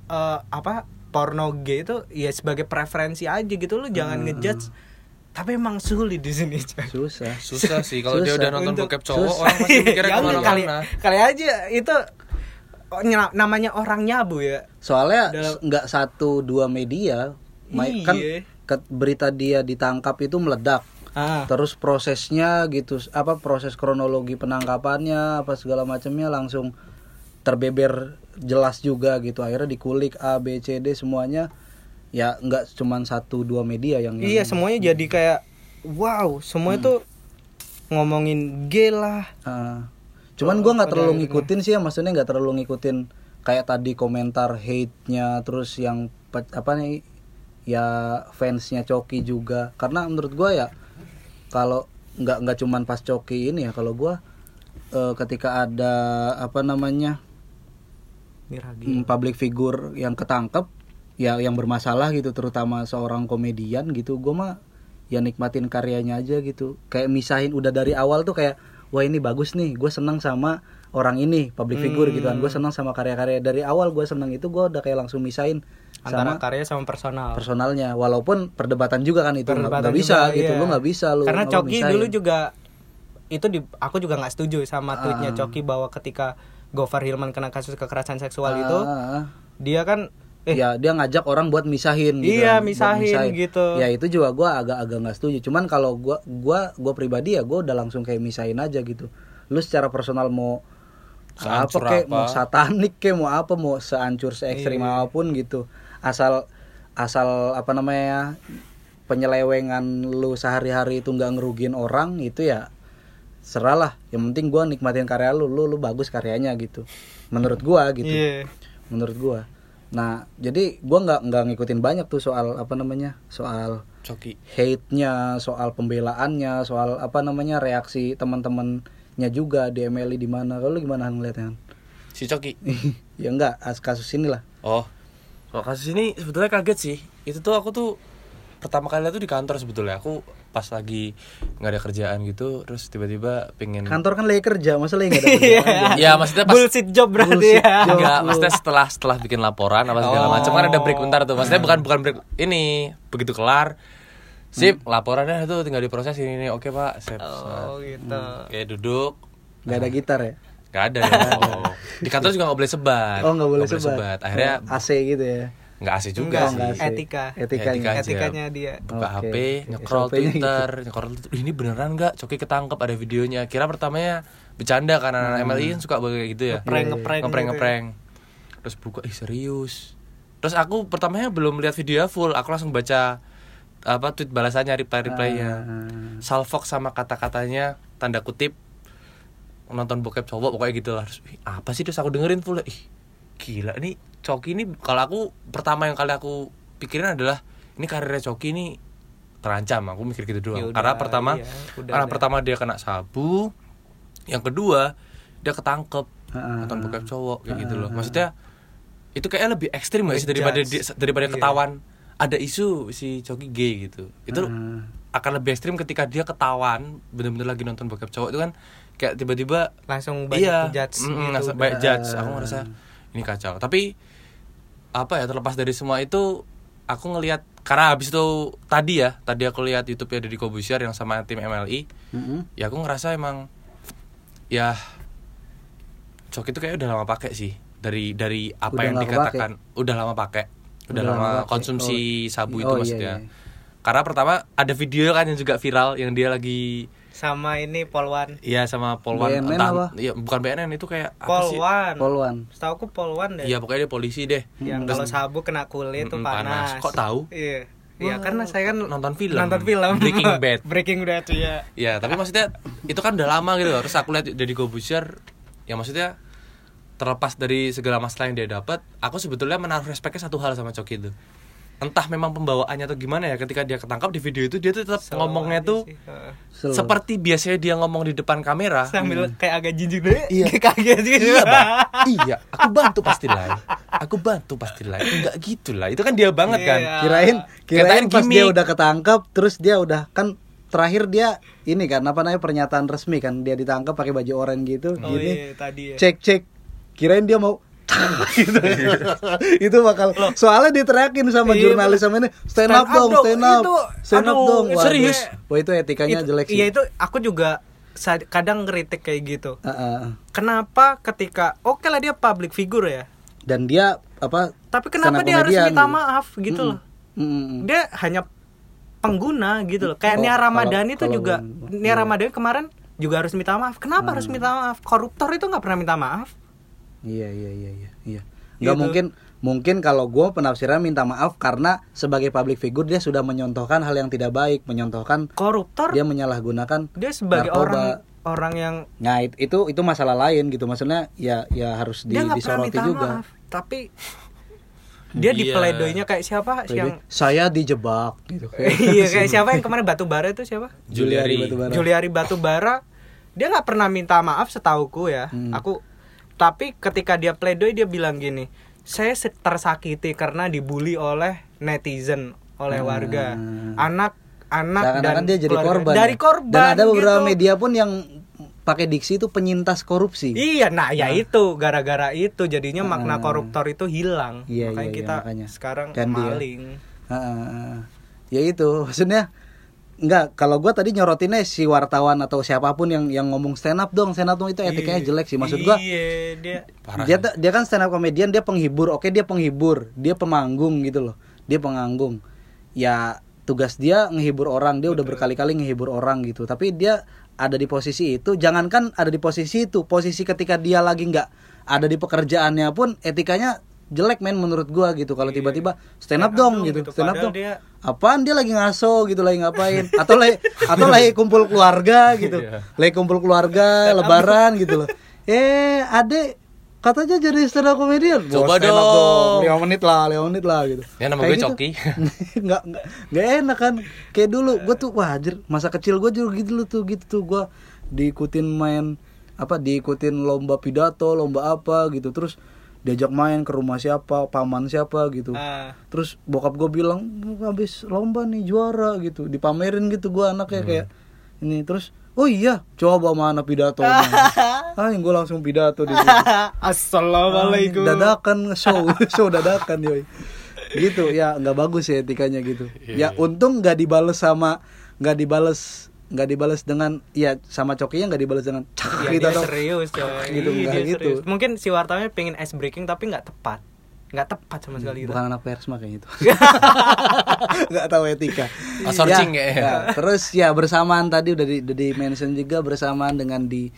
Speaker 1: eh, apa porno gay itu ya sebagai preferensi aja gitu lu jangan ngejudge tapi emang sulit di sini coy.
Speaker 2: susah
Speaker 3: Susah sih kalau dia
Speaker 2: Susah.
Speaker 3: udah nonton
Speaker 1: Untuk-
Speaker 3: bokep cowok
Speaker 2: susah.
Speaker 3: Orang pasti mikirnya
Speaker 1: Ya udah, kali,
Speaker 3: kemana-mana
Speaker 1: kali aja itu oh, nyela- namanya orang nyabu ya
Speaker 2: soalnya
Speaker 1: Dalam-
Speaker 2: s- nggak satu dua media Mai- kan
Speaker 1: Iya.
Speaker 2: ke- berita dia ditangkap itu meledak.
Speaker 1: Ah,
Speaker 2: Terus prosesnya gitu, s- apa proses kronologi penangkapannya apa segala macamnya langsung terbeber jelas juga gitu. Akhirnya dikulik A B C D semuanya ya nggak cuman satu dua media yang, yang
Speaker 1: iya semuanya jadi kayak wow, semua itu ngomongin gay lah.
Speaker 2: Ah. cuman gua nggak terlalu ngikutin sih ya maksudnya nggak terlalu ngikutin kayak tadi komentar hate-nya terus yang pe- apa nih ya fansnya Coki juga karena menurut gua ya kalau nggak nggak cuman pas Coki ini ya kalau gua eh, ketika ada apa namanya
Speaker 1: Miragi.
Speaker 2: mm, public figure yang ketangkep ya yang bermasalah gitu terutama seorang komedian gitu gue mah ya nikmatin karyanya aja gitu kayak misahin udah dari awal tuh kayak wah ini bagus nih gue seneng sama orang ini public figure gitu kan gue
Speaker 1: Hmm.
Speaker 2: seneng sama karya-karya dari awal gue seneng itu gue udah kayak langsung misahin
Speaker 1: Antara
Speaker 2: sama
Speaker 1: karya sama personal.
Speaker 2: personalnya walaupun perdebatan juga kan itu nggak
Speaker 1: Perdebatan
Speaker 2: nggak bisa
Speaker 1: juga,
Speaker 2: gitu
Speaker 1: iya.
Speaker 2: lo nggak bisa ya. lo
Speaker 1: karena
Speaker 2: lo
Speaker 1: Coki
Speaker 2: misahin.
Speaker 1: dulu juga itu di aku juga nggak setuju sama tweetnya Coki bahwa ketika Gofar Hilman kena kasus kekerasan seksual itu
Speaker 2: Ah, ah.
Speaker 1: dia kan eh
Speaker 2: ya dia ngajak orang buat misahin gitu
Speaker 1: Iya,
Speaker 2: kan, buat
Speaker 1: misahin gitu.
Speaker 2: ya itu juga gua agak-agak nggak setuju cuman kalau gua gua gua pribadi ya gua udah langsung kayak misahin aja gitu lu secara personal mau apa
Speaker 3: Sehancur
Speaker 2: kayak
Speaker 3: apa.
Speaker 2: mau satanik kayak mau apa mau seancur se ekstrim
Speaker 1: Iya.
Speaker 2: apapun gitu asal asal apa namanya penyelewengan lu sehari-hari itu nggak ngerugiin orang itu ya seralah yang penting gua nikmatin karya lu lu lu bagus karyanya gitu menurut gua gitu
Speaker 1: iya.
Speaker 2: menurut gua nah jadi gua nggak nggak ngikutin banyak tuh soal apa namanya soal
Speaker 3: Coki.
Speaker 2: hate nya soal pembelaannya soal apa namanya reaksi teman-temannya juga di MLI di mana kalau lu gimana Han, ngeliatnya Han?
Speaker 3: Si Coki.
Speaker 2: ya enggak kasus inilah
Speaker 3: Oh. Kalau kasus ini sebetulnya kaget sih. Itu tuh aku tuh pertama kali tuh di kantor sebetulnya. Aku pas lagi nggak ada kerjaan gitu, terus tiba-tiba pengen
Speaker 2: kantor kan lagi kerja masa lagi nggak ada kerjaan
Speaker 3: Ya maksudnya pas
Speaker 1: bullshit job berarti
Speaker 2: Bullshit
Speaker 1: ya
Speaker 2: job.
Speaker 3: Enggak, maksudnya setelah setelah bikin laporan apa
Speaker 2: Oh.
Speaker 3: segala macam kan ada break bentar tuh. Maksudnya bukan bukan break ini begitu kelar. Sip,
Speaker 2: Hmm.
Speaker 3: laporannya itu tinggal diproses ini ini. Oke, Pak. Sip.
Speaker 1: oh gitu
Speaker 3: Oke, duduk.
Speaker 2: nggak ada gitar ya
Speaker 3: Gak ada ya. Oh. Di kantor juga gak boleh sebat.
Speaker 2: oh nggak boleh sebat,
Speaker 3: Akhirnya
Speaker 2: AC gitu ya
Speaker 3: gak asik juga
Speaker 1: Nggak,
Speaker 3: sih.
Speaker 2: nggak asik.
Speaker 1: Etika.
Speaker 2: etikanya
Speaker 3: Iya. Etika. Aja.
Speaker 1: etikanya dia
Speaker 3: buka
Speaker 2: Oke.
Speaker 3: HP, nge-scroll
Speaker 2: SOP-nya gitu.
Speaker 3: Twitter, nge-scroll Twitter, "Ih, ini beneran nggak? Coki ketangkep ada videonya. Kira pertamanya bercanda karena
Speaker 2: Hmm.
Speaker 3: anak MLI kan suka kayak gitu ya.
Speaker 1: Ngeprank, ngeprank
Speaker 3: ngeprank,
Speaker 1: gitu
Speaker 3: ngeprank. Terus buka, ih serius. Terus aku pertamanya belum lihat video full, aku langsung baca apa tweet balasannya, reply-replynya.
Speaker 2: Ah.
Speaker 3: Salfok sama kata-katanya tanda kutip nonton bokep cowok pokoknya gitu lah. Terus, "Ih, apa sih terus aku dengerin full ih gila nih Coki ini kalau aku pertama yang kali aku pikirin adalah ini karirnya Coki ini terancam aku mikir gitu doang
Speaker 1: Ya udah,
Speaker 3: karena pertama
Speaker 1: iya, udah
Speaker 3: karena
Speaker 1: deh.
Speaker 3: pertama dia kena sabu yang kedua dia ketangkep nonton bokep cowok kayak gitu loh maksudnya itu kayaknya lebih ekstrim gak sih daripada di- daripada
Speaker 1: Iya.
Speaker 3: ketahuan ada isu si Coki gay gitu itu akan lebih ekstrim ketika dia ketahuan bener-bener lagi nonton bokep cowok itu kan kayak tiba-tiba
Speaker 1: langsung banyak judge
Speaker 3: mm,
Speaker 1: gitu
Speaker 3: langsung banyak judge aku ngerasa ini kacau tapi apa ya terlepas dari semua itu aku ngelihat karena habis itu tadi ya tadi aku lihat YouTube ya dari Kobusier yang sama tim MLI
Speaker 2: Mm-mm.
Speaker 3: ya aku ngerasa emang ya Coki itu kayaknya udah lama pakai sih dari dari apa
Speaker 2: Udah
Speaker 3: yang
Speaker 2: nggak
Speaker 3: dikatakan udah lama pakai udah,
Speaker 2: Udah
Speaker 3: lama
Speaker 2: lama pakai.
Speaker 3: konsumsi sabu
Speaker 2: Oh,
Speaker 3: itu
Speaker 2: iya,
Speaker 3: maksudnya
Speaker 2: iya.
Speaker 3: karena pertama ada video kan yang juga viral yang dia lagi
Speaker 1: sama ini Polwan
Speaker 3: Iya sama Polwan
Speaker 2: BNN
Speaker 3: entah-
Speaker 2: apa?
Speaker 3: Iya bukan BNN itu kayak apa sih?
Speaker 1: Polwan
Speaker 2: Polwan
Speaker 1: setahu aku Polwan deh
Speaker 3: Iya pokoknya dia polisi deh.
Speaker 1: yang kalau sabu kena kulit tuh
Speaker 3: Mm,
Speaker 1: panas.
Speaker 3: panas. Kok tahu?
Speaker 1: Iya. Iya karena saya kan
Speaker 3: Nonton film.
Speaker 1: Nonton film.
Speaker 3: Breaking Bad.
Speaker 1: Breaking Bad ya.
Speaker 3: Iya tapi maksudnya itu kan udah lama gitu. Terus aku lihat dari Gobusier, ya maksudnya terlepas dari segala masalah yang dia dapat, aku sebetulnya menaruh respeknya satu hal sama Coki itu. Entah memang pembawaannya atau gimana ya ketika dia ketangkap di video itu dia tuh tetap ngomongnya tuh
Speaker 1: Iya
Speaker 2: Slow.
Speaker 3: seperti biasanya dia ngomong di depan kamera.
Speaker 1: sambil kayak agak jijik deh. Iya. Kaget gitu.
Speaker 3: Ah, mm. Iya, Bang. iya, aku bantu pasti lain. Aku bantu pasti lain. Enggak gitu lah. Itu kan dia banget kan.
Speaker 1: Iya.
Speaker 2: kirain kirain
Speaker 3: Katain
Speaker 2: pas dia
Speaker 3: gimmick.
Speaker 2: udah ketangkep terus dia udah kan terakhir dia ini kan apa namanya pernyataan resmi kan dia ditangkap pakai baju oranye gitu
Speaker 1: Oh iya
Speaker 2: gini
Speaker 1: tadi ya.
Speaker 2: cek cek kirain dia mau gitu. itu bakal soalnya diteriakin sama
Speaker 1: Iya,
Speaker 2: jurnalis sama ini stand up dong stand up
Speaker 1: Itu,
Speaker 2: stand up
Speaker 1: aduh,
Speaker 2: dong
Speaker 1: itu
Speaker 2: Waduh.
Speaker 3: serius.
Speaker 2: wah itu etikanya
Speaker 1: Itu-
Speaker 2: jelek sih
Speaker 1: Iya itu aku juga sa- kadang ngeritik kayak gitu.
Speaker 2: Ah, ah, ah.
Speaker 1: Kenapa ketika oke lah dia public figure ya.
Speaker 2: dan dia apa
Speaker 1: Tapi kenapa
Speaker 2: stand up
Speaker 1: dia harus
Speaker 2: comedian
Speaker 1: minta
Speaker 2: gitu.
Speaker 1: maaf gitu loh.
Speaker 2: Mm-mm.
Speaker 1: dia hanya pengguna gitu loh kayak Nia Ramadhani tuh
Speaker 2: Oh, kalau
Speaker 1: juga
Speaker 2: gua- iya. Hmm.
Speaker 1: Nia Ramadhani kemarin juga harus minta maaf kenapa harus minta maaf koruptor itu nggak pernah minta maaf
Speaker 2: Iya iya iya iya. iya. Nggak
Speaker 1: Gitu.
Speaker 2: mungkin mungkin kalau gue penafsiran minta maaf karena sebagai public figure dia sudah menyontohkan hal yang tidak baik, menyontohkan
Speaker 1: koruptor
Speaker 2: dia menyalahgunakan
Speaker 1: dia sebagai
Speaker 2: narkoba.
Speaker 1: orang orang yang
Speaker 2: Nah it- itu itu masalah lain gitu maksudnya ya ya harus di,
Speaker 1: dia nggak pernah
Speaker 2: disoroti
Speaker 1: minta
Speaker 2: juga.
Speaker 1: maaf tapi dia di
Speaker 3: Iya.
Speaker 1: pledoinya kayak siapa
Speaker 2: Jadi,
Speaker 1: yang
Speaker 2: gitu. Saya dijebak gitu.
Speaker 1: iya kayak siapa yang kemarin Batubara itu siapa
Speaker 3: Juliari.
Speaker 2: Batubara.
Speaker 1: Juliari Batubara dia nggak pernah minta maaf setauku ya
Speaker 2: Hmm.
Speaker 1: aku tapi ketika dia pledoi dia bilang gini saya se- tersakiti karena dibully oleh netizen oleh warga anak anak dan
Speaker 2: Hmm. Seakan-akan dia jadi
Speaker 1: keluarga.
Speaker 2: korban.
Speaker 1: dari
Speaker 2: ya.
Speaker 1: korban
Speaker 2: Dan ada beberapa
Speaker 1: gitu.
Speaker 2: media pun yang pakai diksi itu penyintas korupsi.
Speaker 1: Iya, nah ya itu gara-gara itu jadinya makna koruptor itu hilang.
Speaker 2: Hmm. Iya,
Speaker 1: makanya
Speaker 2: iya, iya,
Speaker 1: kita
Speaker 2: makanya.
Speaker 1: sekarang
Speaker 2: Ganti ya.
Speaker 1: maling.
Speaker 2: Heeh. ya itu maksudnya nggak kalau gua tadi nyorotinnya si wartawan atau siapapun yang yang ngomong stand up dong stand up dong itu etikanya jelek sih maksud gua
Speaker 1: Iya, dia
Speaker 3: Parah.
Speaker 2: dia ta- dia kan stand up komedian dia penghibur oke dia penghibur dia pemanggung gitu loh dia penganggung ya tugas dia ngehibur orang dia udah berkali-kali ngehibur orang gitu tapi dia ada di posisi itu jangankan ada di posisi itu posisi ketika dia lagi nggak ada di pekerjaannya pun etikanya jelek men menurut gua gitu kalau tiba-tiba stand up dong gitu, stand up
Speaker 1: Padahal
Speaker 2: dong
Speaker 1: dia-
Speaker 2: apaan dia lagi ngaso gitu lagi ngapain atau lagi atau lagi kumpul keluarga gitu
Speaker 3: Iya.
Speaker 2: lagi kumpul keluarga lebaran gitu loh eh ade katanya jadi stand up comedian Wah,
Speaker 3: Coba
Speaker 2: stand up
Speaker 3: dong.
Speaker 2: lima menit lah lima menit lah gitu
Speaker 3: Ya, nama gue Coki.
Speaker 2: nggak nggak- nggak enak kan kayak dulu gue tuh wah anjir, masa kecil gue juga gitu loh tuh gitu tuh gue diikutin main apa diikutin lomba pidato lomba apa gitu terus diajak main ke rumah siapa paman siapa gitu
Speaker 1: Ah.
Speaker 2: terus bokap gue bilang "Lu habis lomba nih juara gitu dipamerin gitu gue anaknya
Speaker 1: Hmm.
Speaker 2: kayak ini terus oh iya coba mana pidato ah gue langsung pidato di situ.
Speaker 1: Assalamualaikum.
Speaker 2: Ah, dadakan show show dadakan yoi gitu ya nggak bagus ya etikanya gitu
Speaker 1: Iya,
Speaker 2: ya untung nggak dibales sama nggak dibales nggak dibales dengan ya sama cokinya nggak dibales dengan cak
Speaker 1: Iya,
Speaker 2: gitu
Speaker 1: dia
Speaker 2: atau
Speaker 1: serius coy.
Speaker 2: gitu,
Speaker 1: Iya,
Speaker 2: enggak
Speaker 1: dia
Speaker 2: gitu.
Speaker 1: serius. Mungkin si wartawannya pengen ice breaking tapi nggak tepat. Nggak tepat sama sekali gitu. itu.
Speaker 2: bukan anak persma kayaknya itu nggak tahu etika
Speaker 3: Ah,
Speaker 1: Oh,
Speaker 3: searching kayaknya.
Speaker 2: ya, terus ya bersamaan tadi udah di, udah di mention juga bersamaan dengan di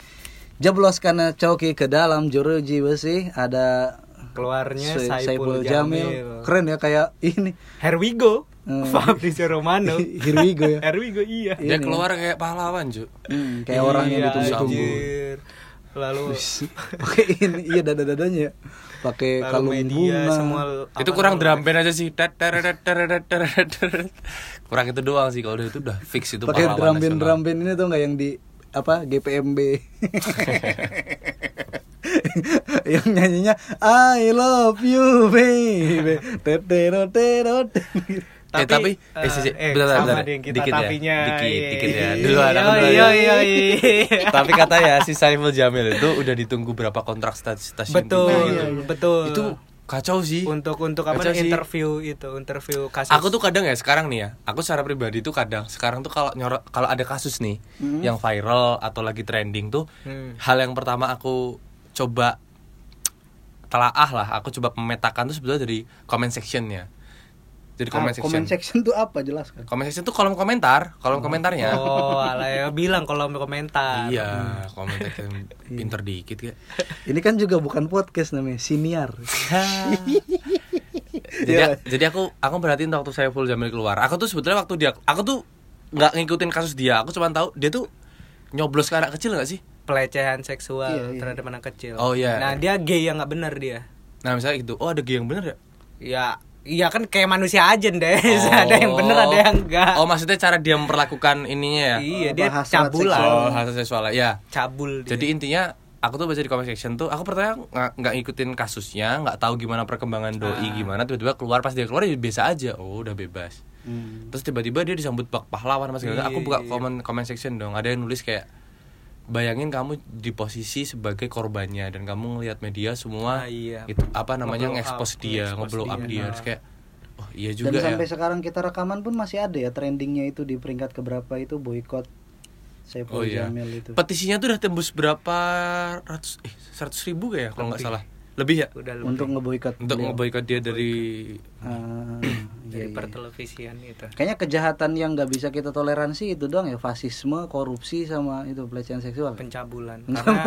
Speaker 2: jeblos karena coki ke dalam jeruji besi ada
Speaker 1: Keluarnya
Speaker 2: Sa-
Speaker 1: Saipul, Jamil.
Speaker 2: keren ya kayak ini
Speaker 1: Here we go.
Speaker 2: Hmm.
Speaker 1: Fabrizio Romano.
Speaker 2: Here we go ya.
Speaker 1: Here we go, iya.
Speaker 3: Dia keluar kayak pahlawan, Ju.
Speaker 2: Hmm, kayak orang
Speaker 1: Iya,
Speaker 2: yang ditunggu-tunggu.
Speaker 1: anjir. Lalu
Speaker 2: Pakai ini, iya dada-dadanya. Pakai
Speaker 1: Lalu
Speaker 2: kalung
Speaker 1: media
Speaker 2: bunga.
Speaker 1: semua
Speaker 3: itu
Speaker 1: apa
Speaker 3: kurang
Speaker 1: namanya?
Speaker 3: drum band aja sih. Tet, teret, teret, teret, teret. Kurang itu doang sih kalau dia itu udah fix itu
Speaker 2: Pakai drum
Speaker 3: pahlawan
Speaker 2: band
Speaker 3: nasional. Eh,
Speaker 2: drum band ini tuh nggak yang di apa GPMB. yang nyanyinya I love you baby. Tetero tero
Speaker 3: Eh, tapi, eh, sih, sih, bentar,
Speaker 1: sama
Speaker 3: bentar.
Speaker 1: deh yang kita
Speaker 3: Dikit ya,
Speaker 1: tapinya.
Speaker 3: dikit,
Speaker 1: Iya,
Speaker 3: dikit ya.
Speaker 1: iya,
Speaker 3: Duluan, aku
Speaker 1: iya,
Speaker 3: duluan
Speaker 1: iya,
Speaker 3: ya.
Speaker 1: iya, iya.
Speaker 3: Tapi kata ya si Saiful Jamil itu udah ditunggu berapa kontrak sta- stasiun
Speaker 1: Betul,
Speaker 3: TV
Speaker 1: iya,
Speaker 3: itu.
Speaker 1: iya. betul.
Speaker 3: Itu kacau sih.
Speaker 1: untuk untuk apa
Speaker 3: Kacau
Speaker 1: nih,
Speaker 3: sih.
Speaker 1: interview itu interview kasus Oh,
Speaker 3: Aku tuh kadang ya sekarang nih ya, aku secara pribadi tuh kadang sekarang tuh kalau nyorot kalau ada kasus nih yang viral atau lagi trending tuh,
Speaker 1: Hmm.
Speaker 3: hal yang pertama aku coba telaah lah, aku coba memetakan tuh sebetulnya dari comment sectionnya.
Speaker 1: Ah,
Speaker 3: Jadi comment
Speaker 2: Ah,
Speaker 3: section.
Speaker 2: Comment section tuh apa kan? jelaskan?
Speaker 3: Comment section tuh kolom komentar, kolom komentarnya.
Speaker 1: oh Hmm. ala ya bilang kalau mau komentar
Speaker 3: Iya, comment section pinter dikit kayak.
Speaker 2: Ini kan juga bukan podcast namanya, siniar.
Speaker 3: jadi
Speaker 1: Iya.
Speaker 3: jadi aku aku perhatiin waktu Saiful Jamil keluar aku tuh sebetulnya waktu dia aku tuh nggak ngikutin kasus dia aku cuma tahu dia tuh nyoblos ke anak kecil nggak sih
Speaker 1: pelecehan seksual
Speaker 2: Iya, iya.
Speaker 1: terhadap anak kecil
Speaker 3: Oh, iya.
Speaker 1: nah dia gay yang nggak bener dia
Speaker 3: nah misalnya gitu oh ada gay yang bener ya
Speaker 1: ya iya kan kayak manusia aja deh ada yang bener ada yang enggak
Speaker 3: oh maksudnya cara dia memperlakukan ininya ya
Speaker 1: iya
Speaker 2: Apa,
Speaker 1: dia
Speaker 2: hasrat
Speaker 3: oh
Speaker 1: cabulan
Speaker 3: hasil seksualnya ya
Speaker 1: cabul dia.
Speaker 3: jadi intinya aku tuh baca di comment section tuh aku pertama nggak nggak ngikutin kasusnya nggak tahu gimana
Speaker 1: Ah.
Speaker 3: perkembangan doi gimana tiba-tiba keluar pas dia keluar ya biasa aja oh udah bebas terus tiba-tiba dia disambut bak pahlawan mas segala. aku
Speaker 1: Iya,
Speaker 3: buka comment comment section dong ada yang nulis kayak bayangin kamu di posisi sebagai korbannya dan kamu ngelihat media
Speaker 1: Ah,
Speaker 3: semua
Speaker 1: iya.
Speaker 3: itu apa namanya
Speaker 1: Nge-blow
Speaker 3: nge-expose
Speaker 1: up,
Speaker 3: dia
Speaker 1: nge-expose
Speaker 3: nge-blow up
Speaker 1: dia.
Speaker 3: dia
Speaker 1: Nah.
Speaker 3: terus kayak oh iya
Speaker 2: Dan
Speaker 3: juga ya
Speaker 2: sampai sekarang kita rekaman pun masih ada ya trendingnya itu di peringkat keberapa itu boykot Saiful
Speaker 3: Oh iya.
Speaker 2: Jamil itu.
Speaker 3: Petisinya tuh udah tembus berapa ratus eh seratus ribu kayak ya kalau nggak salah. Lebih ya?
Speaker 2: Oh,
Speaker 1: udah lu
Speaker 2: untuk ngeboikot
Speaker 3: Untuk
Speaker 2: beliau.
Speaker 3: ngeboikot dia dari
Speaker 2: Ah,
Speaker 1: di
Speaker 2: iya,
Speaker 1: pertelevisian gitu. itu
Speaker 2: Kayaknya kejahatan yang nggak bisa kita toleransi itu doang ya fasisme, korupsi sama itu pelecehan seksual.
Speaker 1: pencabulan karena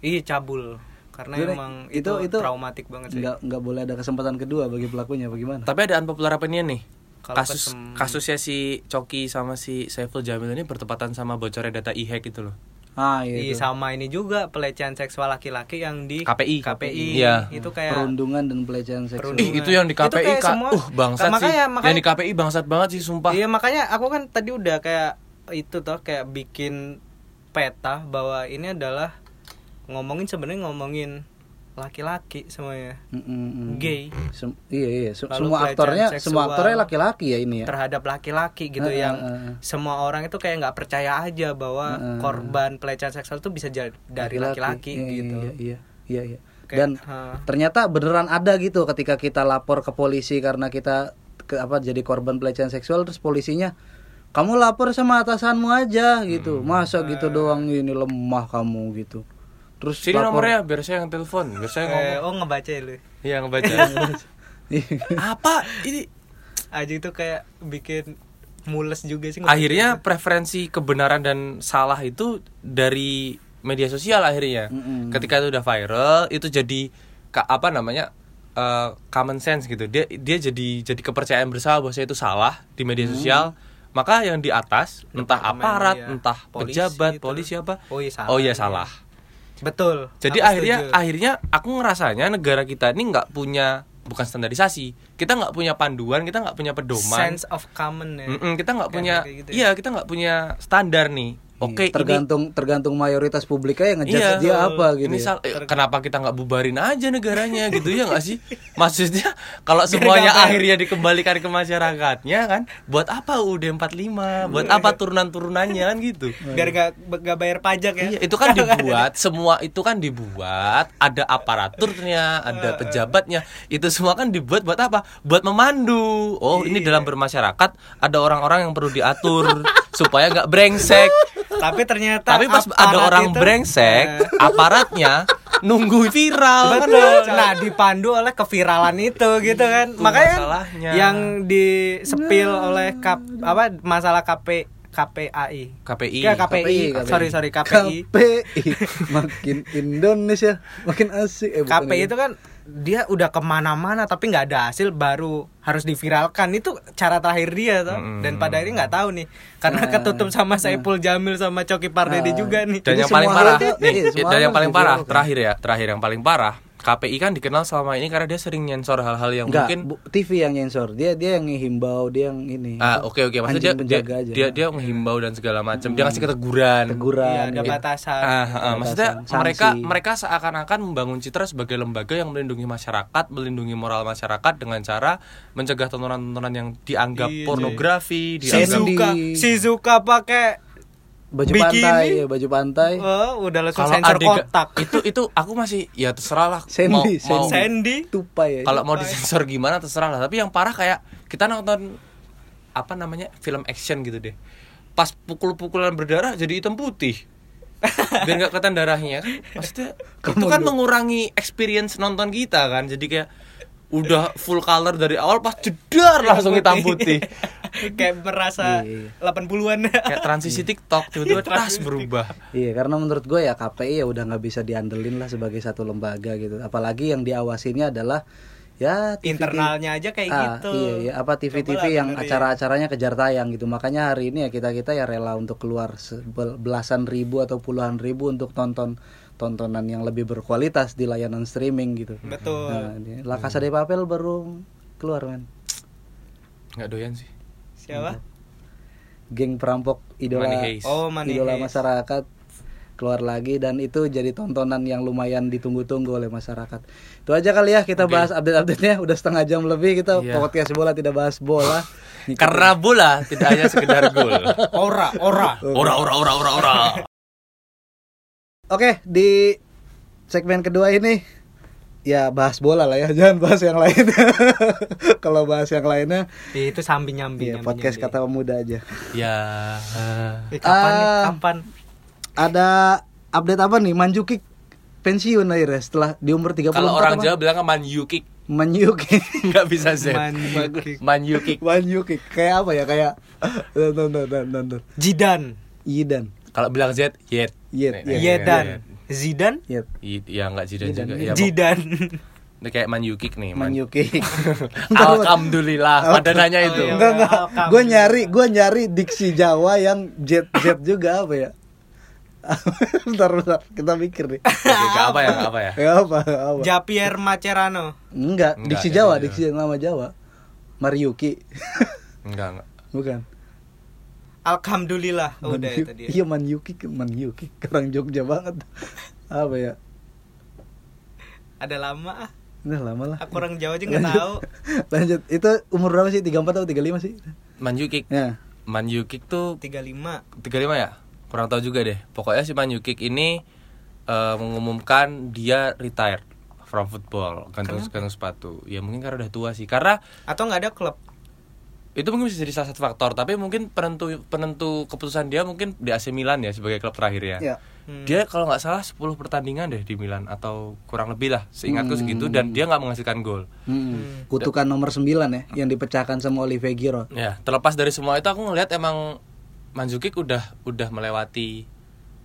Speaker 1: iya cabul karena
Speaker 2: Bener,
Speaker 1: emang itu,
Speaker 2: itu- itu-
Speaker 1: traumatik banget sih
Speaker 2: Nggak nggak boleh ada kesempatan kedua bagi pelakunya bagaimana?
Speaker 3: Tapi ada unpopular opinion nih.
Speaker 1: Kalau
Speaker 3: kasus
Speaker 1: kesem-
Speaker 3: kasusnya si Coki sama si Saiful Jamil ini bertepatan sama bocornya data e-hack itu loh.
Speaker 2: Ah iya.
Speaker 1: Iya
Speaker 2: itu.
Speaker 1: sama ini juga pelecehan seksual laki-laki yang di
Speaker 3: KPI.
Speaker 1: KPI
Speaker 3: Iya.
Speaker 1: itu kayak
Speaker 2: Perundungan dan pelecehan seksual.
Speaker 1: Perundungan.
Speaker 3: Ih, itu yang di
Speaker 1: Itu
Speaker 3: KPI
Speaker 1: kayak
Speaker 3: Kak.
Speaker 1: semua-
Speaker 3: uh bangsat
Speaker 1: Nah, makanya-
Speaker 3: sih. Yang
Speaker 1: makanya-
Speaker 3: di KPI bangsat banget sih sumpah.
Speaker 1: Iya makanya aku kan tadi udah kayak itu toh kayak bikin peta bahwa ini adalah ngomongin sebenarnya ngomongin laki-laki semuanya
Speaker 2: Mm, mm, mm.
Speaker 1: gay
Speaker 2: Sem- iya iya Sem-
Speaker 1: Lalu
Speaker 2: semua
Speaker 1: pelecehan
Speaker 2: aktornya
Speaker 1: seksual.
Speaker 2: semua aktornya laki-laki ya ini ya.
Speaker 1: terhadap laki-laki gitu
Speaker 2: Heeh,
Speaker 1: yang
Speaker 2: heeh.
Speaker 1: semua orang itu kayak nggak percaya aja bahwa
Speaker 2: Heeh.
Speaker 1: korban pelecehan seksual itu bisa jadi dari laki-laki
Speaker 2: Iya,
Speaker 1: gitu.
Speaker 2: Iya iya iya. iya.
Speaker 1: Kayak,
Speaker 2: Dan
Speaker 1: ha.
Speaker 2: ternyata beneran ada gitu ketika kita lapor ke polisi karena kita ke, apa jadi korban pelecehan seksual terus polisinya kamu lapor sama atasanmu aja
Speaker 3: Hmm.
Speaker 2: gitu. Masa gitu doang ini lemah kamu gitu. Terus
Speaker 3: Eh. Sini
Speaker 2: lapor
Speaker 3: nomornya biar saya yang telepon, biar saya ngomong.
Speaker 1: Eh, oh ngebaca ya lu.
Speaker 3: Iya, ngebaca. Apa ini?
Speaker 1: Aja itu kayak bikin mules juga sih. ngebaca.
Speaker 3: Akhirnya preferensi kebenaran dan salah itu dari media sosial akhirnya.
Speaker 2: Mm-mm.
Speaker 3: Ketika itu udah viral, itu jadi ka- apa namanya? eh, common sense gitu. Dia dia jadi jadi kepercayaan bersama bahwa saya itu salah di media sosial. Maka yang di atas entah
Speaker 1: Departemen,
Speaker 3: aparat,
Speaker 1: iya.
Speaker 3: entah
Speaker 1: Polisi
Speaker 3: pejabat,
Speaker 1: gitu.
Speaker 3: polisi apa.
Speaker 1: Oh iya, salah.
Speaker 3: Oh iya salah.
Speaker 1: betul.
Speaker 3: Jadi
Speaker 1: Aku
Speaker 3: akhirnya
Speaker 1: setuju.
Speaker 3: akhirnya aku ngerasanya negara kita ini nggak punya bukan standarisasi. Kita nggak punya panduan, kita nggak punya pedoman.
Speaker 1: sense of common ya.
Speaker 3: Mm-mm, kita nggak
Speaker 1: Kayak-
Speaker 3: punya
Speaker 1: kayak gitu ya.
Speaker 3: iya kita nggak punya standar nih oke
Speaker 2: Iya,
Speaker 3: ini
Speaker 2: tergantung tergantung mayoritas publiknya yang ngejudge
Speaker 3: Iya,
Speaker 2: dia apa gitu.
Speaker 3: ini
Speaker 2: ya.
Speaker 3: sal- eh, kenapa kita nggak bubarin aja negaranya gitu ya nggak sih maksudnya kalau semuanya akhirnya dikembalikan ke masyarakatnya kan buat apa UUD 45
Speaker 1: Iya.
Speaker 3: buat apa turunan turunannya kan gitu
Speaker 1: biar gak, gak bayar pajak ya.
Speaker 3: Iya, itu kan dibuat, semua itu kan dibuat, ada aparaturnya, ada pejabatnya. Itu semua kan dibuat buat apa? Buat memandu. Oh, ini dalam bermasyarakat ada orang-orang yang perlu diatur supaya nggak brengsek.
Speaker 1: Tapi ternyata
Speaker 3: Tapi pas ada
Speaker 1: aparat
Speaker 3: orang
Speaker 1: itu- Iya.
Speaker 3: brengsek, aparatnya nunggu viral kan
Speaker 1: Betul. Nah, dipandu oleh keviralan itu gitu kan. Makanya kan
Speaker 3: Iya, masalahnya.
Speaker 1: yang disepil oleh kap, apa masalah KP KPAI.
Speaker 3: KPI.
Speaker 1: Ya, KPI.
Speaker 3: ah,
Speaker 2: KPI.
Speaker 1: Sorry, sorry, KPI.
Speaker 2: KPI. makin Indonesia makin asik eh, bukan
Speaker 1: KPI itu kan dia udah kemana-mana tapi nggak ada hasil baru harus diviralkan itu cara terakhir dia tuh dan pada akhirnya nggak tahu nih
Speaker 3: Nah.
Speaker 1: karena ketutup sama Saiful Jamil sama Coki Pardede juga nih
Speaker 3: Dan
Speaker 2: Jadi
Speaker 3: yang paling
Speaker 2: semua
Speaker 3: parah,
Speaker 2: hal itu-
Speaker 3: nih,
Speaker 2: iya, semua
Speaker 3: dan
Speaker 2: hal
Speaker 3: yang
Speaker 2: harus
Speaker 3: paling parah
Speaker 2: diviralkan.
Speaker 3: terakhir ya, terakhir yang paling parah. KPI kan dikenal selama ini karena dia sering nyensor hal-hal yang
Speaker 2: Enggak,
Speaker 3: mungkin
Speaker 2: bu- TV yang nyensor. Dia dia yang ngimbau, dia yang ini.
Speaker 3: Ah, oke oke maksudnya
Speaker 2: Anjing
Speaker 3: dia dia,
Speaker 2: penjaga aja.
Speaker 3: dia dia menghimbau dan segala macam. Dia ngasih keteguran.
Speaker 1: Iya,
Speaker 2: teguran.
Speaker 1: ada
Speaker 2: gitu.
Speaker 1: batasan
Speaker 3: Ah, ah, ah, maksudnya
Speaker 2: Sanksi.
Speaker 3: mereka mereka seakan-akan membangun citra sebagai lembaga yang melindungi masyarakat, melindungi moral masyarakat dengan cara mencegah tontonan-tontonan yang dianggap
Speaker 1: Iya,
Speaker 3: pornografi,
Speaker 2: Iya.
Speaker 3: dianggap
Speaker 1: Shizuka
Speaker 2: Sandy.
Speaker 1: Shizuka pakai
Speaker 2: baju
Speaker 1: Bikini.
Speaker 2: pantai, ya, baju pantai.
Speaker 1: oh, udah langsung
Speaker 3: kalau
Speaker 1: sensor
Speaker 3: adegan-
Speaker 1: kotak
Speaker 2: Iya.
Speaker 3: itu itu aku masih ya terserah lah mau,
Speaker 2: Sandy, Sandy.
Speaker 3: mau-
Speaker 1: Sandy
Speaker 2: Tupai ya.
Speaker 3: kalau mau disensor gimana terserah lah tapi yang parah kayak kita nonton apa namanya film action gitu deh pas pukul-pukulan berdarah jadi hitam putih biar nggak kelihatan darahnya kan maksudnya itu kan mengurangi experience nonton kita kan jadi kayak udah full color dari awal pas jedar langsung hitam putih
Speaker 1: kayak merasa
Speaker 2: Iya,
Speaker 1: 80-an
Speaker 3: kayak transisi TikTok tiba-tiba tas berubah
Speaker 2: Iya, karena menurut gue ya KPI ya udah nggak bisa diandelin lah sebagai satu lembaga gitu. Apalagi yang diawasinnya adalah ya TV
Speaker 1: internalnya aja kayak
Speaker 2: Ah,
Speaker 1: gitu
Speaker 2: Iya, iya, apa TV-TV
Speaker 1: Cobalah
Speaker 2: yang
Speaker 1: benerin.
Speaker 2: acara-acaranya kejar tayang gitu. Makanya hari ini ya kita-kita ya rela untuk keluar se- bel- belasan ribu atau puluhan ribu untuk tonton tontonan yang lebih berkualitas di layanan streaming gitu.
Speaker 1: betul
Speaker 2: Nah, ini La Casa de Papel baru keluar men.
Speaker 3: nggak doyan sih
Speaker 1: siapa
Speaker 2: Geng perampok idola
Speaker 3: Money Heist.
Speaker 1: oh Money
Speaker 2: idola
Speaker 1: Heist.
Speaker 2: masyarakat keluar lagi dan itu jadi tontonan yang lumayan ditunggu-tunggu oleh masyarakat. Itu aja kali ya kita bahas update-update-nya udah setengah jam lebih kita
Speaker 3: Iya.
Speaker 2: podcast bola tidak bahas bola.
Speaker 3: karena bola tidak hanya sekedar gol
Speaker 1: ora ora
Speaker 3: ora ora ora ora ora
Speaker 2: Oke, di segmen kedua ini ya bahas bola lah ya, jangan bahas yang lain. Kalau bahas yang lainnya,
Speaker 1: Iya, itu sambil nyambi Eh,
Speaker 2: ya podcast kata pemuda aja.
Speaker 3: ya
Speaker 1: kapan nih?
Speaker 2: Ah.
Speaker 1: kapan
Speaker 2: Ada update apa nih? Manjukic pensiun akhirnya setelah di umur 30
Speaker 3: Kalau orang Jawa bilang kan man you kick.
Speaker 2: menyuki
Speaker 3: nggak bisa Z
Speaker 1: Menyuki.
Speaker 3: Manyuki
Speaker 2: menyuki kayak apa ya kayak Tuh, tuh, tuh, tuh, tuh, tuh.
Speaker 1: Jidan,
Speaker 2: Yidan
Speaker 3: kalau bilang Z Yet
Speaker 2: Yet,
Speaker 3: Nih,
Speaker 2: Iya,
Speaker 1: Yedan, Zidan,
Speaker 2: Yet
Speaker 3: Yit, ya nggak Zidan
Speaker 2: Zidan.
Speaker 3: juga ya pok-
Speaker 1: Jidan.
Speaker 3: ini kayak Manyuki nih Man-
Speaker 2: menyuki
Speaker 3: Alhamdulillah pada nanya itu
Speaker 1: iya.
Speaker 2: enggak enggak
Speaker 1: Welcome.
Speaker 2: gue nyari gue nyari diksi Jawa yang jet jet juga apa ya bentar bentar kita mikir nih
Speaker 3: Oke, nggak apa ya nggak apa ya
Speaker 2: ya apa nggak apa
Speaker 1: Japier Macerano.
Speaker 2: enggak
Speaker 3: Enggak,
Speaker 2: diksi
Speaker 3: ya,
Speaker 2: Jawa
Speaker 3: ya.
Speaker 2: diksi nama Jawa Mariuki
Speaker 3: enggak enggak
Speaker 2: bukan
Speaker 1: Alhamdulillah Oh, udah
Speaker 2: Manyuki.
Speaker 1: itu dia.
Speaker 2: iya Manyuki Manyuki orang Jogja banget apa ya
Speaker 1: Ada lama ah.
Speaker 2: udah lama lah
Speaker 1: Aku orang Jawa aja nggak tahu.
Speaker 2: lanjut itu umur berapa sih 34 atau 35 sih
Speaker 3: Manyuki
Speaker 2: ya
Speaker 3: Manyuki tuh
Speaker 1: 35.
Speaker 3: 35 ya? Kurang tahu juga deh. Pokoknya si Manyukik ini eh, mengumumkan dia retired from football, gantung gantung sepatu. Ya mungkin karena udah tua sih. Karena
Speaker 1: Atau nggak ada klub.
Speaker 3: itu mungkin bisa jadi salah satu faktor, tapi mungkin penentu penentu keputusan dia mungkin di AC Milan ya sebagai klub terakhir ya.
Speaker 2: ya
Speaker 1: Hmm.
Speaker 3: Dia kalau nggak salah 10 pertandingan deh di Milan atau kurang lebih lah, seingatku segitu dan dia nggak menghasilkan gol.
Speaker 2: Hmm. kutukan nomor 9 ya yang dipecahkan sama Olivier Giroud
Speaker 3: Ya, terlepas dari semua itu aku ngelihat emang Manzukic udah udah melewati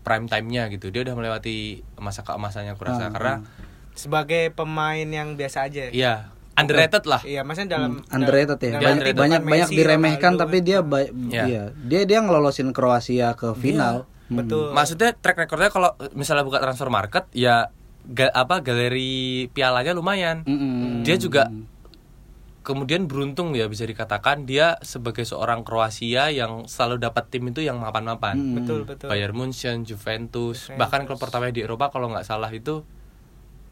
Speaker 3: prime time-nya gitu. Dia udah melewati masa keemasannya aku rasa karena
Speaker 1: sebagai pemain yang biasa aja.
Speaker 3: ya underrated lah.
Speaker 1: Iya, maksudnya dalam
Speaker 2: Iya. underrated ya
Speaker 1: dalam
Speaker 2: banyak
Speaker 1: arti itu
Speaker 2: banyak,
Speaker 1: kan
Speaker 2: banyak
Speaker 1: Messi, Ronaldo.
Speaker 2: diremehkan
Speaker 1: kan. Hmm.
Speaker 2: tapi dia ba-
Speaker 3: Ya.
Speaker 2: iya. dia dia ngelolosin
Speaker 1: Iya.
Speaker 2: Kroasia ke final
Speaker 1: betul.
Speaker 3: Maksudnya track recordnya kalau misalnya buka transfer market ya ga- apa galeri pialanya lumayan.
Speaker 2: Hmm. Mm-mm.
Speaker 3: Dia juga kemudian beruntung ya bisa dikatakan dia sebagai seorang Kroasia yang selalu dapat tim itu yang mapan-mapan.
Speaker 2: Hmm.
Speaker 1: betul betul.
Speaker 3: Bayern Munchen, Juventus, bahkan klub pertama di Eropa kalau nggak salah itu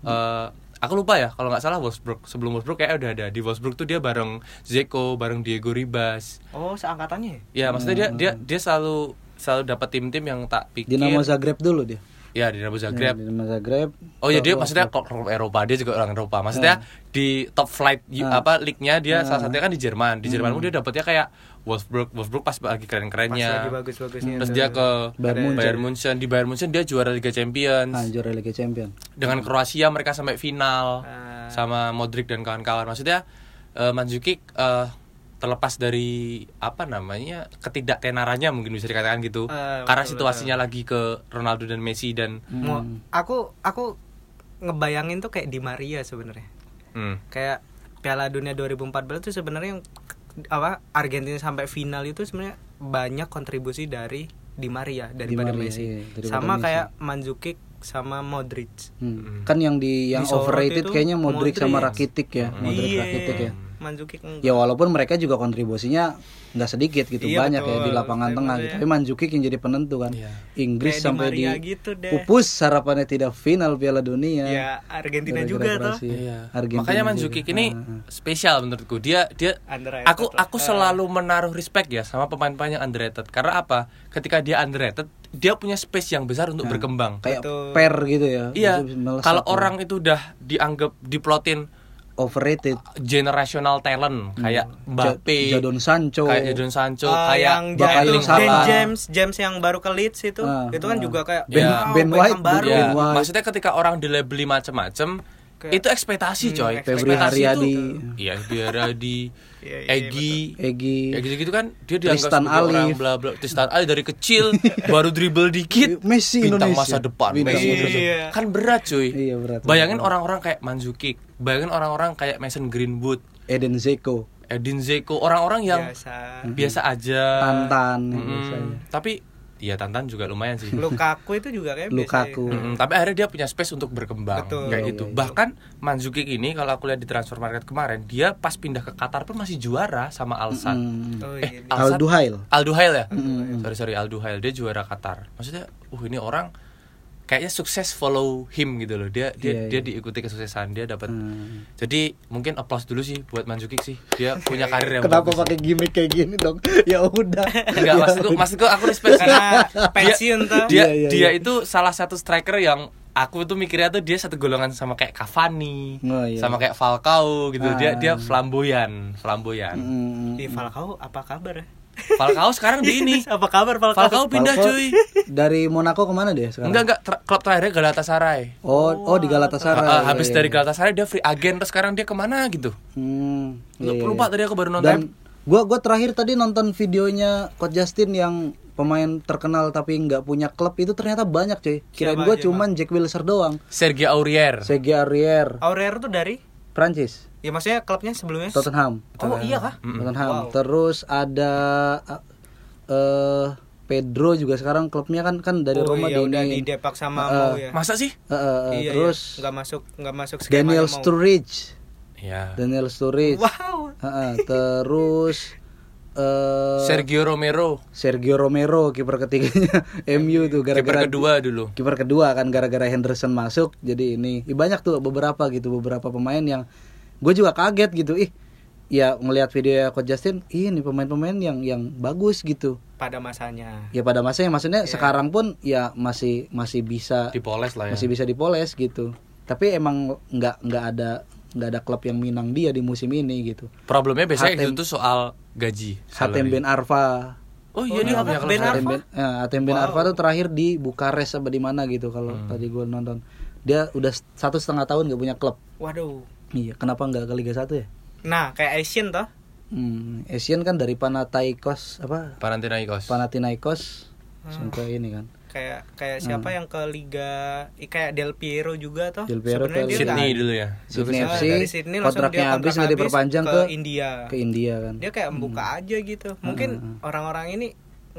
Speaker 3: eh aku lupa ya kalau nggak salah Wolfsburg sebelum Wolfsburg kayak udah ada di Wolfsburg tuh dia bareng Zeko, bareng Diego Ribas.
Speaker 1: Oh, seangkatannya. ya?
Speaker 3: Ya maksudnya dia dia dia selalu selalu dapat tim-tim yang tak pikir.
Speaker 2: Dinamo Zagreb dulu dia
Speaker 3: Ya Dinamo Zagreb.
Speaker 2: Dinamo Zagreb
Speaker 3: Oh ya dia maksudnya klub klub Eropa dia juga orang Eropa. Maksudnya
Speaker 1: Ah.
Speaker 3: di top flight y- apa league-nya dia salah satunya kan di Jerman. Di Jerman pun dia dapatnya kayak Wolfsburg, Wolfsburg pas lagi
Speaker 1: Hmm. Pas
Speaker 3: keren-kerennya.
Speaker 1: lagi bagus-bagusnya.
Speaker 3: Terus
Speaker 1: tuh.
Speaker 3: dia ke
Speaker 2: Bayern
Speaker 3: Bayern Munchen.
Speaker 2: Munchen.
Speaker 3: Di Bayern Munchen dia juara Liga Champions.
Speaker 2: hancur Liga Champion
Speaker 3: Dengan Kroasia mereka sampai final
Speaker 1: Ah.
Speaker 3: sama Modric dan kawan-kawan. Maksudnya eh, Mandzukic eh, terlepas dari apa namanya ketidaktenarannya mungkin bisa dikatakan gitu.
Speaker 1: Ah,
Speaker 3: Karena
Speaker 1: betul,
Speaker 3: situasinya lagi ke Ronaldo dan Messi dan
Speaker 2: Hmm.
Speaker 1: Mau- aku aku ngebayangin tuh kayak di Maria sebenarnya.
Speaker 3: hmm,
Speaker 1: Kayak Piala Dunia 2014 itu sebenarnya yang apa Argentina sampai final itu sebenarnya banyak kontribusi dari Di Maria daripada
Speaker 2: Maria,
Speaker 1: Messi.
Speaker 2: iya, daripada
Speaker 1: sama
Speaker 2: Messi.
Speaker 1: kayak Mandzukic sama Modric.
Speaker 2: Hmm. kan yang di yang
Speaker 1: Disorot
Speaker 2: overrated
Speaker 1: itu
Speaker 2: kayaknya Modric, sama
Speaker 1: Modric. Hmm. Iya.
Speaker 2: Rakitic ya Modric Rakitic ya
Speaker 1: Mandzukic enggak.
Speaker 2: ya walaupun mereka juga kontribusinya nggak sedikit gitu
Speaker 1: Iya,
Speaker 2: banyak ya
Speaker 1: betul.
Speaker 2: di lapangan
Speaker 1: Tapi
Speaker 2: tengah
Speaker 1: maksudnya-
Speaker 2: gitu. tapi Mandzukic yang jadi penentu kan
Speaker 3: Iya.
Speaker 2: Inggris
Speaker 1: Kayak Di
Speaker 2: sampai di,
Speaker 1: Maria gitu deh.
Speaker 2: pupus harapannya tidak final Piala Dunia
Speaker 1: Ya Argentina
Speaker 2: Iya. Gara-gara
Speaker 1: juga toh.
Speaker 2: Kroasia. Iya. Argentina
Speaker 3: Iya. Makanya
Speaker 2: juga.
Speaker 3: Mandzukic ini
Speaker 2: Ah, ah.
Speaker 3: spesial menurutku. Dia dia
Speaker 1: Underrated Eh.
Speaker 3: aku
Speaker 1: lah.
Speaker 3: aku selalu menaruh respect ya sama pemain-pemain yang underrated. Karena apa? Ketika dia underrated, dia punya space yang besar untuk berkembang.
Speaker 2: Nah, kayak
Speaker 1: Betul.
Speaker 2: per gitu ya
Speaker 3: Iya.
Speaker 2: Itu melesat
Speaker 3: Kalau
Speaker 2: ya.
Speaker 3: orang itu udah dianggap diplotin
Speaker 2: overrated
Speaker 3: generational talent kayak Mbappe,
Speaker 2: Hmm. Ja- Jadon Sancho
Speaker 3: kayak Jadon Sancho,
Speaker 1: Ah,
Speaker 3: kayak
Speaker 1: yang
Speaker 2: Bakayoko Iya.
Speaker 1: James,
Speaker 2: Saka.
Speaker 1: Ben James, James yang baru ke Leeds itu,
Speaker 2: Ah,
Speaker 1: itu kan
Speaker 2: ah.
Speaker 1: juga kayak
Speaker 3: Ben-
Speaker 1: wow,
Speaker 2: Ben
Speaker 1: Beckham
Speaker 2: White,
Speaker 1: baru.
Speaker 3: Ya,
Speaker 2: Wah.
Speaker 3: maksudnya ketika orang dilebeli macam-macam
Speaker 1: Kayak-
Speaker 3: itu ekspektasi coy.
Speaker 1: Hmm,
Speaker 2: Febri
Speaker 3: Ekspektasi itu-
Speaker 2: Haryadi.
Speaker 3: Iya, Febri Haryadi,
Speaker 1: Iya, iya,
Speaker 3: Egi,
Speaker 2: Egi
Speaker 3: Ya gitu-gitu kan dia dianggap
Speaker 2: Tristan
Speaker 3: sebagai orang
Speaker 2: Alif.
Speaker 3: bla bla Tristan Alif dari kecil baru dribble dikit
Speaker 2: Messi
Speaker 3: bintang
Speaker 2: Indonesia.
Speaker 3: masa depan
Speaker 2: Bintang
Speaker 3: Messi
Speaker 1: masa
Speaker 3: Indonesia.
Speaker 1: depan.
Speaker 3: kan berat cuy
Speaker 2: Iya, berat.
Speaker 3: bayangin orang-orang kayak Manzukic bayangin orang-orang kayak Mason Greenwood
Speaker 2: Eden Zeko
Speaker 3: Edin Zeko orang-orang yang
Speaker 1: Biasa.
Speaker 3: biasa aja
Speaker 1: Eh,
Speaker 2: Tantan iya,
Speaker 3: Mm-mm.
Speaker 2: biasanya.
Speaker 3: tapi ya Tantan juga lumayan sih
Speaker 1: Lukaku itu juga kayak biasa
Speaker 2: Lukaku
Speaker 1: ya.
Speaker 3: Mm-mm, tapi akhirnya dia punya space untuk berkembang
Speaker 1: Betul.
Speaker 3: kayak
Speaker 1: Iya,
Speaker 3: gitu bahkan Manzukic ini kalau aku lihat di transfer market kemarin dia pas pindah ke Qatar pun masih juara sama Al Sadd
Speaker 2: Hmm.
Speaker 1: Oh,
Speaker 3: eh,
Speaker 1: iya.
Speaker 3: Al
Speaker 2: Al
Speaker 3: Sadd
Speaker 2: Duhail
Speaker 3: Al Duhail ya? Sorry sorry Al Duhail dia juara Qatar. Maksudnya uh ini orang kayaknya sukses follow him gitu loh. Dia dia
Speaker 2: Iya, Hmm.
Speaker 3: dia diikuti kesuksesan dia dapat. Jadi mungkin applause dulu sih buat Manzukic sih. Dia punya karir yang
Speaker 2: kenapa
Speaker 3: bagus.
Speaker 2: pakai gimmick kayak gini dong ya udah
Speaker 3: Enggak, maksudku maksudku aku respect sih.
Speaker 1: Karena pensiun tuh.
Speaker 3: Dia
Speaker 2: Iya, iya,
Speaker 3: dia
Speaker 2: iya.
Speaker 3: itu salah satu striker yang aku tuh mikirnya tuh dia satu golongan sama kayak Cavani,
Speaker 2: Oh, iya. Ah.
Speaker 3: sama kayak Falcao gitu. Dia dia flamboyan, flamboyan.
Speaker 2: Hmm.
Speaker 1: Di Falcao apa kabar ya?
Speaker 3: Falcao sekarang di ini.
Speaker 1: Apa kabar Falcao?
Speaker 3: Falcao pindah
Speaker 2: Falcao
Speaker 3: cuy.
Speaker 2: Dari Monaco kemana dia sekarang?
Speaker 3: Enggak enggak ter- klub terakhirnya Galatasaray.
Speaker 2: Oh, oh di
Speaker 3: Ah,
Speaker 2: Galatasaray.
Speaker 3: ah, habis dari
Speaker 2: iya.
Speaker 3: Galatasaray dia free agent terus sekarang dia kemana gitu.
Speaker 2: Hmm, iya, iya.
Speaker 3: Lupa tadi aku baru
Speaker 2: Dan
Speaker 3: nonton.
Speaker 2: gua gua terakhir tadi nonton videonya Coach Justin yang pemain terkenal tapi nggak punya klub itu ternyata banyak cuy. Kirain gua cuman Jack Wilshere doang.
Speaker 3: Sergio Aurier.
Speaker 2: Segi Arrier,
Speaker 1: Aurero tuh dari
Speaker 2: Prancis,
Speaker 1: ya maksudnya klubnya sebelumnya.
Speaker 2: Tottenham.
Speaker 1: Oh iya kah?
Speaker 2: Tottenham. Terus ada ah, eh Pedro juga sekarang klubnya kan kan dari
Speaker 1: Oh
Speaker 2: Roma
Speaker 1: iya
Speaker 2: di
Speaker 1: udah
Speaker 2: ini.
Speaker 1: di Depak sama mau ya.
Speaker 3: Masa sih?
Speaker 2: Eh, eh, eh,
Speaker 1: Iya,
Speaker 2: terus
Speaker 1: iya. nggak masuk nggak masuk skemanya
Speaker 2: Daniel
Speaker 1: Mau.
Speaker 2: Sturridge,
Speaker 3: Ya.
Speaker 2: Daniel Sturridge.
Speaker 1: Wow.
Speaker 2: Eh, eh, terus eh
Speaker 3: Sergio Romero.
Speaker 2: Sergio Romero kiper ketiganya MU tuh
Speaker 3: Kiper
Speaker 2: gara-gara
Speaker 3: kedua dulu.
Speaker 2: kiper kedua kan gara-gara Henderson masuk jadi ini Ih, banyak tuh beberapa gitu beberapa pemain yang gue juga kaget gitu ih ya ngelihat video coach Justin "Ih, ini pemain-pemain yang yang bagus gitu
Speaker 1: Pada masanya.
Speaker 2: ya pada masanya maksudnya
Speaker 3: Iya.
Speaker 2: sekarang pun ya masih masih bisa
Speaker 3: Dipoles lah ya.
Speaker 2: masih bisa dipoles gitu tapi emang nggak nggak ada nggak ada klub yang minang dia di musim ini gitu
Speaker 3: Problemnya biasanya
Speaker 2: Hatem-
Speaker 3: itu tuh soal gaji.
Speaker 2: Hatem
Speaker 3: salary.
Speaker 2: Ben Arfa
Speaker 3: Oh iya dia
Speaker 1: apa?
Speaker 3: punya klub
Speaker 1: Ben
Speaker 3: sekarang.
Speaker 2: Atem Ben, ya, Atem Ben Arfa tuh terakhir di Bukares apa di mana gitu kalau
Speaker 1: Hmm.
Speaker 2: tadi gue nonton. Dia udah satu setengah tahun gak punya klub.
Speaker 1: Waduh.
Speaker 2: Iya, kenapa nggak ke Liga 1 ya?
Speaker 1: Nah, kayak Asian toh.
Speaker 2: Hmm, Asian kan dari Panathinaikos apa?
Speaker 3: Panathinaikos.
Speaker 2: Panathinaikos
Speaker 1: Hmm.
Speaker 2: sampai ini kan.
Speaker 1: Kayak kayak siapa yang ke liga i- kayak Del Piero juga toh.
Speaker 2: Hmm. Del Piero
Speaker 1: Sebenarnya
Speaker 2: ke
Speaker 1: dia
Speaker 3: Sydney
Speaker 1: nggak-
Speaker 3: dulu ya.
Speaker 2: Sydney
Speaker 1: Ah,
Speaker 2: FC
Speaker 1: dari Sydney langsung dia
Speaker 2: kontraknya habis
Speaker 1: kontrak
Speaker 2: nggak diperpanjang ke
Speaker 1: ke India.
Speaker 2: ke India kan.
Speaker 1: dia kayak membuka aja gitu
Speaker 2: Hmm,
Speaker 1: mungkin orang-orang ini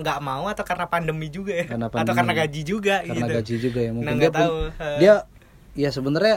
Speaker 1: nggak mau atau karena pandemi juga ya
Speaker 2: Karena
Speaker 1: atau
Speaker 2: pandemi.
Speaker 1: karena gaji juga
Speaker 2: Karena
Speaker 1: gitu
Speaker 2: gaji juga ya mungkin
Speaker 1: Nah,
Speaker 2: dia
Speaker 1: nggak tahu,
Speaker 2: pun-
Speaker 1: eh.
Speaker 2: dia ya sebenarnya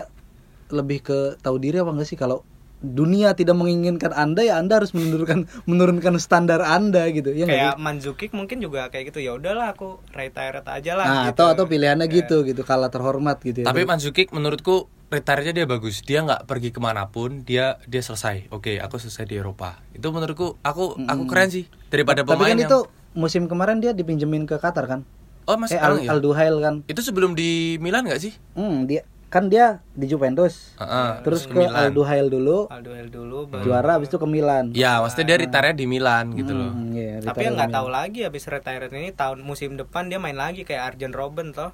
Speaker 2: lebih ke tahu diri apa enggak sih kalau dunia tidak menginginkan anda ya anda harus menurunkan menurunkan standar anda gitu ya nggak sih?
Speaker 1: kayak Manzukic mungkin juga kayak gitu ya udahlah aku retire aja lah
Speaker 2: Nah,
Speaker 1: gitu.
Speaker 2: atau atau pilihannya gitu gitu kalah terhormat gitu ya.
Speaker 3: Tapi Manzuki menurutku retire-nya dia bagus. Dia nggak pergi kemanapun. Dia dia selesai. Oke, aku selesai di Eropa. Itu menurutku aku aku keren sih daripada
Speaker 2: tapi
Speaker 3: pemain
Speaker 2: kan
Speaker 3: yang-
Speaker 2: itu musim kemarin dia dipinjemin ke Qatar kan?
Speaker 3: Oh masih
Speaker 2: eh Al,
Speaker 3: sekarang ya?
Speaker 2: Al Duhail kan.
Speaker 3: Itu sebelum di Milan nggak sih?
Speaker 2: Hmm, dia kan dia di Juventus.
Speaker 3: Heeh.
Speaker 2: terus ke Al Duhail dulu,
Speaker 3: Ah.
Speaker 1: Alduel dulu baru-
Speaker 2: juara habis itu ke Milan.
Speaker 3: Ya, maksudnya dia retire di Milan gitu loh.
Speaker 2: Hmm, iya,
Speaker 1: tapi yang nggak tahu lagi habis retire ini tahun musim depan dia main lagi kayak Arjen Robben toh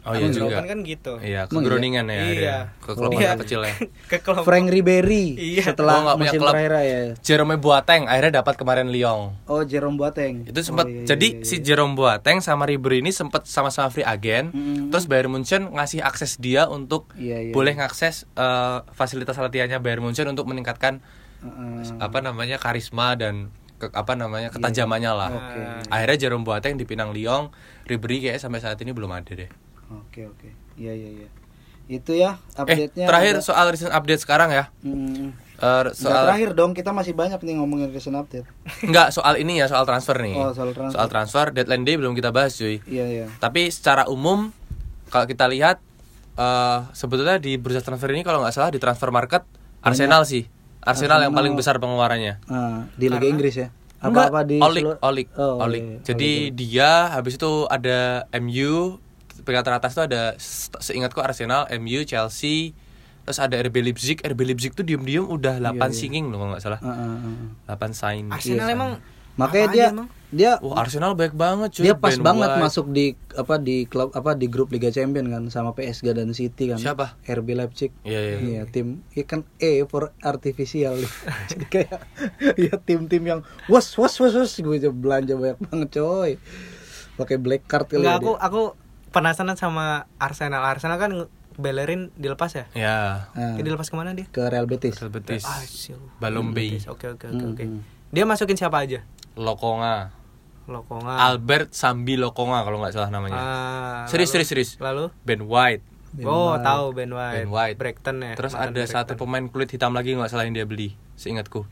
Speaker 3: Oh iya juga.
Speaker 1: Robben kan gitu
Speaker 3: Iya, ke Groningen ya
Speaker 1: Iya.
Speaker 3: dia. Ke klub
Speaker 1: Iya.
Speaker 3: masa kecil ya.
Speaker 1: ke klub
Speaker 2: Frank Ribery
Speaker 1: Iya.
Speaker 3: Oh,
Speaker 2: setelah
Speaker 3: nggak punya
Speaker 2: musim
Speaker 3: klub.
Speaker 2: terakhir ya.
Speaker 3: Jerome Boateng akhirnya dapat kemarin Lyon.
Speaker 2: Oh, Jerome Boateng.
Speaker 3: Itu sempat
Speaker 2: iya,
Speaker 3: jadi si Jerome Boateng sama Ribery ini sempat sama-sama free agent. Terus Bayern Munchen ngasih akses dia untuk
Speaker 2: Iya, iya.
Speaker 3: boleh ngakses eh, fasilitas latihannya Bayern Munchen untuk meningkatkan
Speaker 2: Heeh.
Speaker 3: apa namanya karisma dan ke- apa
Speaker 2: Iya.
Speaker 3: namanya ketajamannya lah. Akhirnya Jerome Boateng dipinang Lyon, Ribery kayak sampai saat ini belum ada deh.
Speaker 2: Oke, oke. Iya, iya, iya. Itu ya
Speaker 3: Eh,
Speaker 2: update-nya. ada-
Speaker 3: terakhir soal recent update sekarang ya.
Speaker 2: Hmm.
Speaker 3: Eh,
Speaker 2: Nggak
Speaker 3: soal
Speaker 2: terakhir dong, kita masih banyak nih ngomongin recent update.
Speaker 3: Enggak, soal ini ya, soal transfer nih.
Speaker 2: Oh, soal transfer.
Speaker 3: Soal transfer, deadline day belum kita bahas, cuy.
Speaker 2: Iya, iya.
Speaker 3: Tapi secara umum kalau kita lihat eh sebetulnya di bursa transfer ini kalau nggak salah di transfer market Arsenal sih. Arsenal, yang paling besar pengeluarannya.
Speaker 2: Ah, di Liga Inggris ya?
Speaker 3: Enggak,
Speaker 2: Apa-apa di
Speaker 3: Olik,
Speaker 2: seluruh-
Speaker 3: Olik,
Speaker 2: Oh,
Speaker 3: Olik.
Speaker 2: iya, iya.
Speaker 3: Jadi dia habis itu ada MU, peringkat teratas itu ada se- seingatku Arsenal, MU, Chelsea, terus ada RB Leipzig. RB Leipzig tuh diem-diem udah
Speaker 2: Iya,
Speaker 3: 8 singing loh kalau nggak salah.
Speaker 2: Ah, ah, ah.
Speaker 3: 8 sign.
Speaker 1: Arsenal
Speaker 2: Iya.
Speaker 1: emang
Speaker 2: Makanya
Speaker 1: apaan
Speaker 2: dia
Speaker 1: emang?
Speaker 2: dia
Speaker 3: Wah, Arsenal baik banget cuy.
Speaker 2: dia pas
Speaker 3: Ben
Speaker 2: banget
Speaker 3: White.
Speaker 2: masuk di apa di klub apa di grup Liga Champion kan sama PSG dan City kan.
Speaker 3: Siapa?
Speaker 2: RB Leipzig.
Speaker 3: Iya, iya.
Speaker 2: Iya, tim ikan E for artificial. Jadi kayak ya tim-tim yang was was was was gue aja belanja banyak banget coy. Pakai black card kali
Speaker 1: nggak
Speaker 2: ya
Speaker 1: aku
Speaker 2: dia.
Speaker 1: aku penasaran sama Arsenal Arsenal kan nge- Bellerin dilepas ya
Speaker 3: Ya,
Speaker 2: Ah,
Speaker 1: Jadi dilepas kemana dia
Speaker 2: ke Real Betis.
Speaker 3: Real Betis,
Speaker 1: Ah, siu.
Speaker 3: Balombe,
Speaker 1: Oke oke oke oke. Dia masukin siapa aja?
Speaker 3: Lokonga,
Speaker 2: Ah.
Speaker 1: Lokonga.
Speaker 3: Albert Sambi Lokonga kalau nggak salah namanya.
Speaker 1: Ah, lalu-
Speaker 3: Serius, serius, serius.
Speaker 1: Lalu?
Speaker 3: Ben White.
Speaker 1: oh, tahu Ben White.
Speaker 3: Ben White.
Speaker 1: Brighton ya.
Speaker 3: Terus
Speaker 1: mantan
Speaker 3: ada
Speaker 1: Brighton.
Speaker 3: satu pemain kulit hitam lagi nggak salah yang dia beli, seingatku.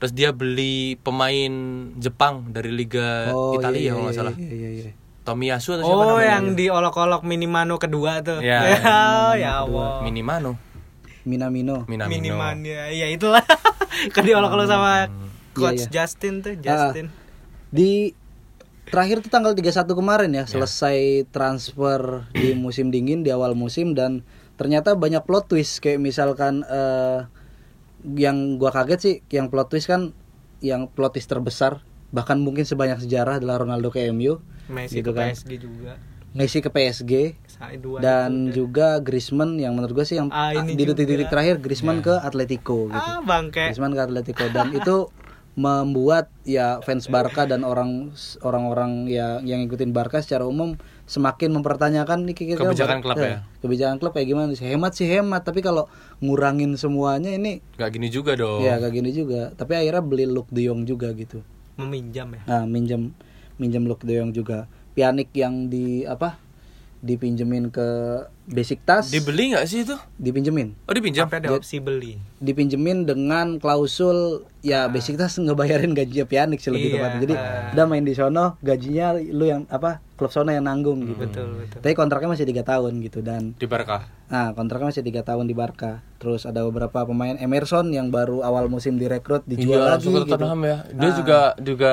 Speaker 3: Terus dia beli pemain Jepang dari Liga Italia
Speaker 2: iya,
Speaker 3: kalau nggak
Speaker 2: iya,
Speaker 3: salah.
Speaker 2: Iya, iya, iya.
Speaker 3: Tomiyasu atau siapa
Speaker 1: Oh,
Speaker 3: namanya?
Speaker 1: yang diolok-olok Minimano kedua tuh.
Speaker 3: Ya.
Speaker 1: ya Allah.
Speaker 3: Minimano,
Speaker 2: Minamino.
Speaker 3: Minamino.
Speaker 1: Miniman ya, ya itulah. kan diolok-olok sama coach
Speaker 2: iya.
Speaker 1: Justin tuh, Justin.
Speaker 2: Ah, di terakhir tuh tanggal 31 kemarin ya selesai transfer di musim dingin di awal musim dan ternyata banyak plot twist kayak misalkan eh, yang gua kaget sih yang plot twist kan yang plot twist terbesar bahkan mungkin sebanyak sejarah adalah Ronaldo ke MU,
Speaker 1: Messi
Speaker 2: Gitu
Speaker 1: ke
Speaker 2: kan.
Speaker 1: PSG juga.
Speaker 2: Messi ke PSG
Speaker 1: Saya dua
Speaker 2: dan
Speaker 1: itu.
Speaker 2: juga Griezmann yang menurut gue sih yang
Speaker 1: Ah, ini
Speaker 2: di
Speaker 1: juga.
Speaker 2: detik-detik
Speaker 1: Ya.
Speaker 2: terakhir Griezmann ke Atletico gitu.
Speaker 1: ah bangke.
Speaker 2: Griezmann ke Atletico dan itu membuat ya fans Barca dan orang orang-orang ya yang ngikutin Barca secara umum semakin mempertanyakan nih kira-kira
Speaker 3: Kebijakan
Speaker 2: Bar-
Speaker 3: klub ya?
Speaker 2: eh, Kebijakan klub kayak gimana sih? Hemat sih hemat, tapi kalau ngurangin semuanya ini
Speaker 3: Gak gini juga dong.
Speaker 2: ya kayak gini juga. Tapi akhirnya beli Luke De Jong juga gitu.
Speaker 1: Meminjam ya.
Speaker 2: Nah, minjem minjem Luke De Jong juga. Pianik yang di apa? dipinjemin ke Besiktas
Speaker 3: Dibeli nggak sih itu?
Speaker 2: dipinjemin
Speaker 3: Oh dipinjam.
Speaker 1: Sampai ada opsi beli.
Speaker 3: Hmm.
Speaker 2: dipinjemin dengan klausul
Speaker 3: Ah.
Speaker 2: ya basic tas ngebayarin gajinya ya, pianik sih lebih
Speaker 1: Iya.
Speaker 2: tepatnya. Jadi udah main di sono gajinya lu yang apa klub sono yang nanggung
Speaker 3: Hmm,
Speaker 2: gitu.
Speaker 1: Betul betul.
Speaker 2: Tapi kontraknya masih tiga tahun gitu dan
Speaker 3: Di Barca.
Speaker 2: nah kontraknya masih tiga tahun di Barca. Terus ada beberapa pemain Emerson yang baru awal musim direkrut dijual
Speaker 3: Iya,
Speaker 2: lagi
Speaker 3: langsung ke
Speaker 2: gitu.
Speaker 3: Tottenham ya. Dia juga juga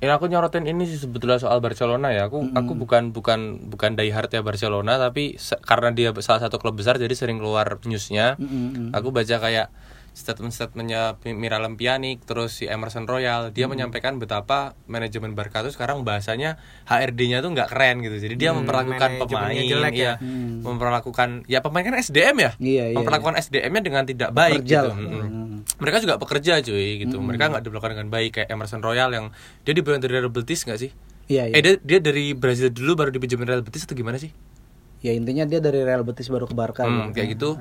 Speaker 3: ini aku nyorotin ini sih sebetulnya soal Barcelona ya. Aku aku bukan bukan bukan diehard ya Barcelona tapi se- karena dia salah satu klub besar jadi sering keluar newsnya.
Speaker 1: Hmm.
Speaker 3: Aku baca kayak statement-statementnya P- Miralem Pjanic terus si Emerson Royal
Speaker 1: Hmm.
Speaker 3: dia menyampaikan betapa manajemen Barca tuh sekarang bahasanya HRD-nya tuh nggak keren gitu jadi dia memperlakukan
Speaker 1: Hmm. manajemennya
Speaker 3: pemain
Speaker 1: jelek ya.
Speaker 3: iya, memperlakukan ya pemain kan SDM ya
Speaker 2: Hmm. Iya, iya,
Speaker 3: memperlakukan SDM-nya dengan tidak baik
Speaker 2: Pekerja
Speaker 3: gitu
Speaker 2: lah. Hmm.
Speaker 3: Mm-mm mereka juga pekerja cuy gitu mereka nggak diperlakukan dengan baik kayak Emerson Royal yang dia dibayar dari Real Betis nggak sih
Speaker 2: Iya, iya.
Speaker 3: eh dia, dia dari Brazil dulu baru dipinjemin Real Betis atau gimana sih
Speaker 2: Ya intinya dia dari Real Betis baru ke Barca.
Speaker 3: Hmm, kayak gitu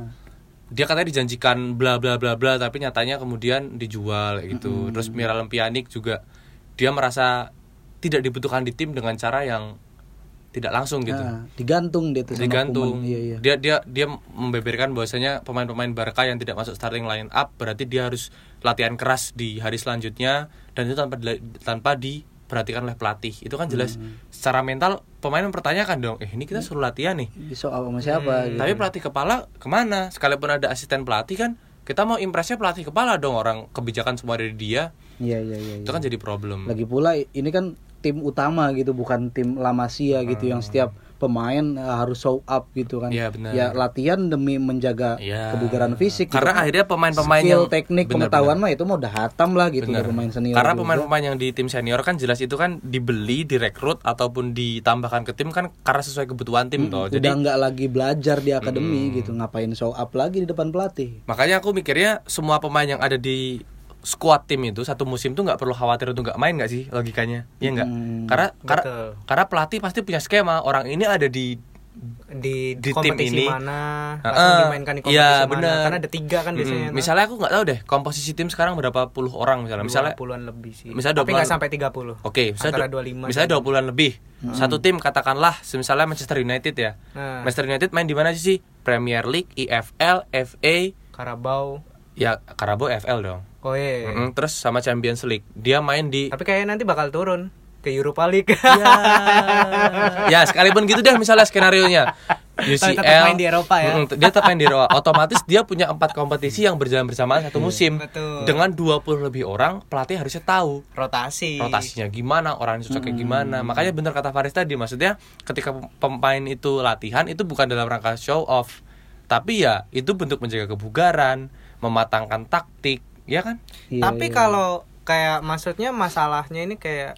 Speaker 3: dia katanya dijanjikan bla bla bla bla tapi nyatanya kemudian dijual kayak gitu
Speaker 2: Hmm.
Speaker 3: terus Miralem Pjanic juga dia merasa tidak dibutuhkan di tim dengan cara yang tidak langsung gitu
Speaker 2: Nah, digantung dia tuh sama
Speaker 3: digantung.
Speaker 2: Koeman. Iya, iya.
Speaker 3: Dia dia dia membeberkan bahwasanya pemain-pemain Barca yang tidak masuk starting line up berarti dia harus latihan keras di hari selanjutnya dan itu tanpa dila- tanpa diperhatikan oleh pelatih. Itu kan jelas
Speaker 2: Hmm.
Speaker 3: secara mental pemain mempertanyakan dong, eh ini kita suruh latihan nih.
Speaker 2: Besok apa sama siapa gitu.
Speaker 3: Tapi pelatih kepala kemana? Sekalipun ada asisten pelatih kan kita mau impresnya pelatih kepala dong orang kebijakan semua dari dia
Speaker 2: Iya iya iya.
Speaker 3: itu kan jadi problem.
Speaker 2: Lagi pula ini kan tim utama gitu bukan tim La Masia gitu yang setiap pemain eh, harus show up gitu kan.
Speaker 3: Hmm. Iya, benar.
Speaker 2: Ya latihan demi menjaga
Speaker 3: Iya.
Speaker 2: kebugaran fisik.
Speaker 3: Karena
Speaker 2: gitu.
Speaker 3: akhirnya pemain-pemain
Speaker 2: skill
Speaker 3: yang
Speaker 2: teknik
Speaker 3: Benar,
Speaker 2: pengetahuan mah itu mau udah hatam lah gitu
Speaker 3: Benar.
Speaker 2: udah pemain senior.
Speaker 3: Karena
Speaker 2: juga.
Speaker 3: pemain-pemain yang di tim senior kan jelas itu kan dibeli, direkrut ataupun ditambahkan ke tim kan karena sesuai kebutuhan tim toh. Jadi Hmm.
Speaker 2: udah nggak lagi belajar di akademi gitu ngapain show up lagi di depan pelatih.
Speaker 3: makanya aku mikirnya semua pemain yang ada di squad tim itu satu musim tuh nggak perlu khawatir untuk nggak main nggak sih logikanya? Iya nggak?
Speaker 2: Hmm.
Speaker 3: Karena karena
Speaker 1: betul.
Speaker 3: karena pelatih pasti punya skema orang ini ada di
Speaker 1: Di,
Speaker 3: Di tim
Speaker 1: kompetisi
Speaker 3: ini.
Speaker 1: mana
Speaker 3: Heeh.
Speaker 1: langsung dimainkan di kompetisi
Speaker 3: Iya,
Speaker 1: mana
Speaker 3: bener.
Speaker 1: karena ada tiga kan biasanya
Speaker 3: Mm, misalnya aku nggak tahu deh komposisi tim sekarang berapa puluh orang misalnya misalnya
Speaker 1: puluhan lebih sih
Speaker 3: misalnya
Speaker 1: tapi nggak
Speaker 3: 20-an.
Speaker 1: sampai 30
Speaker 3: Oke, misalnya,
Speaker 1: antara
Speaker 3: dua
Speaker 1: 25
Speaker 3: misalnya 20-an lebih. Satu tim katakanlah misalnya Manchester United ya.
Speaker 1: Nah.
Speaker 3: Manchester United main di mana sih sih? Premier League, E EFL, FA,
Speaker 1: Karabau
Speaker 3: ya Karabo FL dong.
Speaker 1: koe
Speaker 3: Mm-mm, terus sama Champions League. Dia main
Speaker 1: Oh,
Speaker 3: di
Speaker 1: iya, tapi kayaknya nanti bakal turun ke Europa League
Speaker 3: Iya. ya sekalipun gitu deh misalnya skenario nya UCL
Speaker 1: tetap main di Eropa ya.
Speaker 3: Mm, dia tetap main di Eropa otomatis dia punya empat kompetisi yang berjalan bersamaan satu musim
Speaker 1: Iya, Betul.
Speaker 3: dengan 20 lebih orang pelatih harusnya tahu
Speaker 1: rotasi
Speaker 3: rotasinya gimana orang cocoknya
Speaker 1: Hmm.
Speaker 3: gimana makanya bener kata Faris tadi maksudnya ketika pem- pemain itu latihan itu bukan dalam rangka show off tapi ya itu bentuk menjaga kebugaran mematangkan taktik ya kan
Speaker 2: Iya,
Speaker 1: tapi
Speaker 2: iya.
Speaker 1: kalau kayak maksudnya masalahnya ini kayak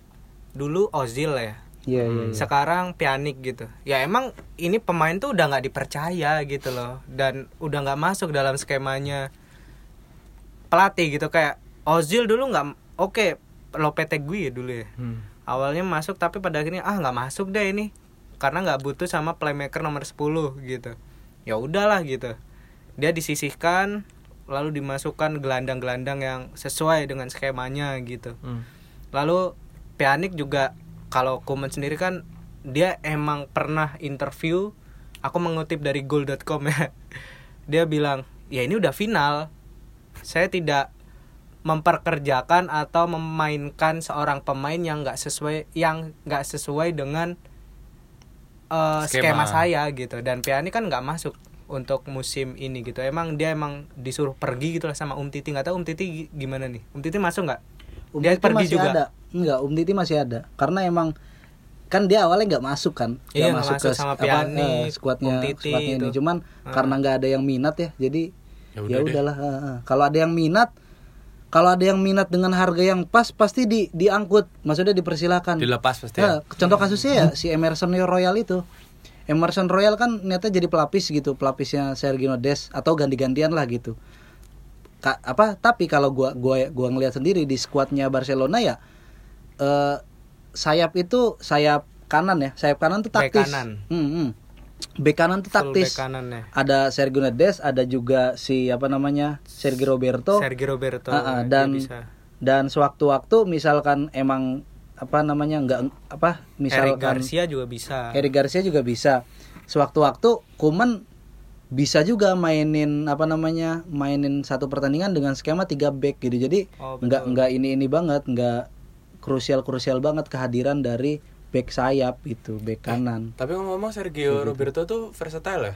Speaker 1: dulu Ozil ya
Speaker 2: Iya,
Speaker 3: Hmm.
Speaker 2: iya, iya.
Speaker 1: sekarang pianik gitu ya emang ini pemain tuh udah nggak dipercaya gitu loh dan udah nggak masuk dalam skemanya pelatih gitu kayak Ozil dulu nggak oke Lopetegui ya dulu ya awalnya masuk tapi pada akhirnya ah nggak masuk deh ini karena nggak butuh sama playmaker nomor 10 gitu ya udahlah gitu dia disisihkan lalu dimasukkan gelandang-gelandang yang sesuai dengan skemanya gitu Lalu Pianik juga kalau Kuman sendiri kan dia emang pernah interview aku mengutip dari goal.com ya. Dia bilang, "Ya ini udah final. Saya tidak memperkerjakan atau memainkan seorang pemain yang nggak sesuai yang nggak sesuai dengan eh, skema.
Speaker 3: Skema.
Speaker 1: saya gitu dan Pianik kan nggak masuk untuk musim ini gitu emang dia emang disuruh pergi gitu lah sama Um Titi nggak tahu Um Titi gi- gimana nih Um Titi masuk nggak
Speaker 2: Um
Speaker 1: dia
Speaker 2: Titi
Speaker 1: pergi
Speaker 2: masih
Speaker 1: juga
Speaker 2: ada. Enggak, Um Titi masih ada. Karena emang kan dia awalnya nggak masuk kan, Nggak
Speaker 1: Iya, nggak masuk sama
Speaker 2: apa,
Speaker 1: Piani,
Speaker 2: eh, skuadnya,
Speaker 1: Um Titi
Speaker 2: skuadnya ini.
Speaker 1: itu. Ah.
Speaker 2: Cuman karena nggak ada yang minat ya, jadi
Speaker 3: Ya
Speaker 2: ya,
Speaker 3: udah deh.
Speaker 2: udahlah. eh, eh. Kalau ada yang minat, kalau ada yang minat dengan harga yang pas pasti di diangkut maksudnya dipersilahkan
Speaker 3: Dilepas pasti ya.
Speaker 2: Nah, contoh kasusnya ya si Emerson Royal itu Emerson Royal kan niatnya jadi pelapis gitu pelapisnya Sergio Des atau ganti-gantian lah gitu Ka- apa tapi kalau gua gua gua ngelihat sendiri di skuadnya Barcelona ya eh, sayap itu sayap kanan ya sayap kanan tuh
Speaker 1: Bek
Speaker 2: taktis
Speaker 1: kanan.
Speaker 2: Hmm, hmm. Bek kanan tuh
Speaker 1: Full
Speaker 2: taktis
Speaker 1: back kanannya.
Speaker 2: ada Sergio Des ada juga si apa namanya Sergio Roberto
Speaker 1: Sergio Roberto
Speaker 2: Ah, ah,
Speaker 1: dia
Speaker 2: dan
Speaker 1: bisa.
Speaker 2: dan sewaktu-waktu misalkan emang apa namanya nggak apa kan
Speaker 1: Eric
Speaker 2: misalkan
Speaker 1: Garcia juga bisa.
Speaker 2: Eric Garcia juga bisa sewaktu-waktu Kuman bisa juga mainin apa namanya mainin satu pertandingan dengan skema tiga back gitu jadi
Speaker 1: Oh, betul.
Speaker 2: nggak nggak ini ini banget nggak krusial krusial banget kehadiran dari back sayap
Speaker 1: Eh,
Speaker 2: itu back kanan
Speaker 3: Tapi ngomong Sergio Roberto tuh versatile ya.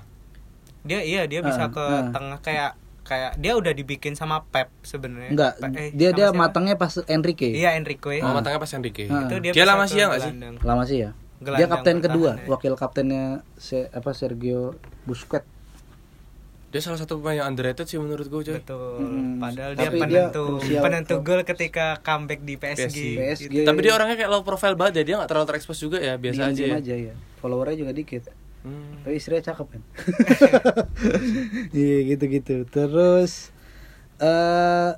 Speaker 1: Dia iya dia bisa ke
Speaker 2: ah.
Speaker 1: tengah kayak kayak dia udah dibikin sama Pep sebenarnya.
Speaker 2: nggak
Speaker 1: Pe- eh,
Speaker 2: dia
Speaker 1: sama
Speaker 2: dia
Speaker 1: siapa?
Speaker 2: matangnya pas Enrique
Speaker 1: Iya Enrico ya.
Speaker 3: Mama tangnya pas Enrique.
Speaker 2: Ah.
Speaker 1: Itu
Speaker 3: Dia
Speaker 1: bisa
Speaker 3: lama
Speaker 1: ke
Speaker 3: sih ya nggak sih?
Speaker 1: gelandang.
Speaker 2: lama sih ya dia
Speaker 1: Gelandang
Speaker 2: kapten kedua
Speaker 1: bertahan ya.
Speaker 2: wakil kaptennya Se- apa Sergio Busquets
Speaker 3: Dia salah satu pemain yang underrated sih menurut gue coy.
Speaker 1: Betul.
Speaker 2: Mm-mm.
Speaker 1: Padahal
Speaker 2: Hmm. Tapi
Speaker 1: dia
Speaker 2: dia
Speaker 1: penentu
Speaker 2: krusial.
Speaker 1: penentu gol ketika comeback di PSG.
Speaker 2: PSG.
Speaker 1: gitu.
Speaker 3: Tapi dia orangnya kayak low profile banget ya, dia nggak terlalu terekspos juga ya,
Speaker 2: Iya,
Speaker 3: biasa aja.
Speaker 2: Diem-diem
Speaker 3: ya.
Speaker 2: aja ya followernya juga dikit
Speaker 3: Hmm.
Speaker 2: tapi istrinya cakep kan iya gitu gitu terus eh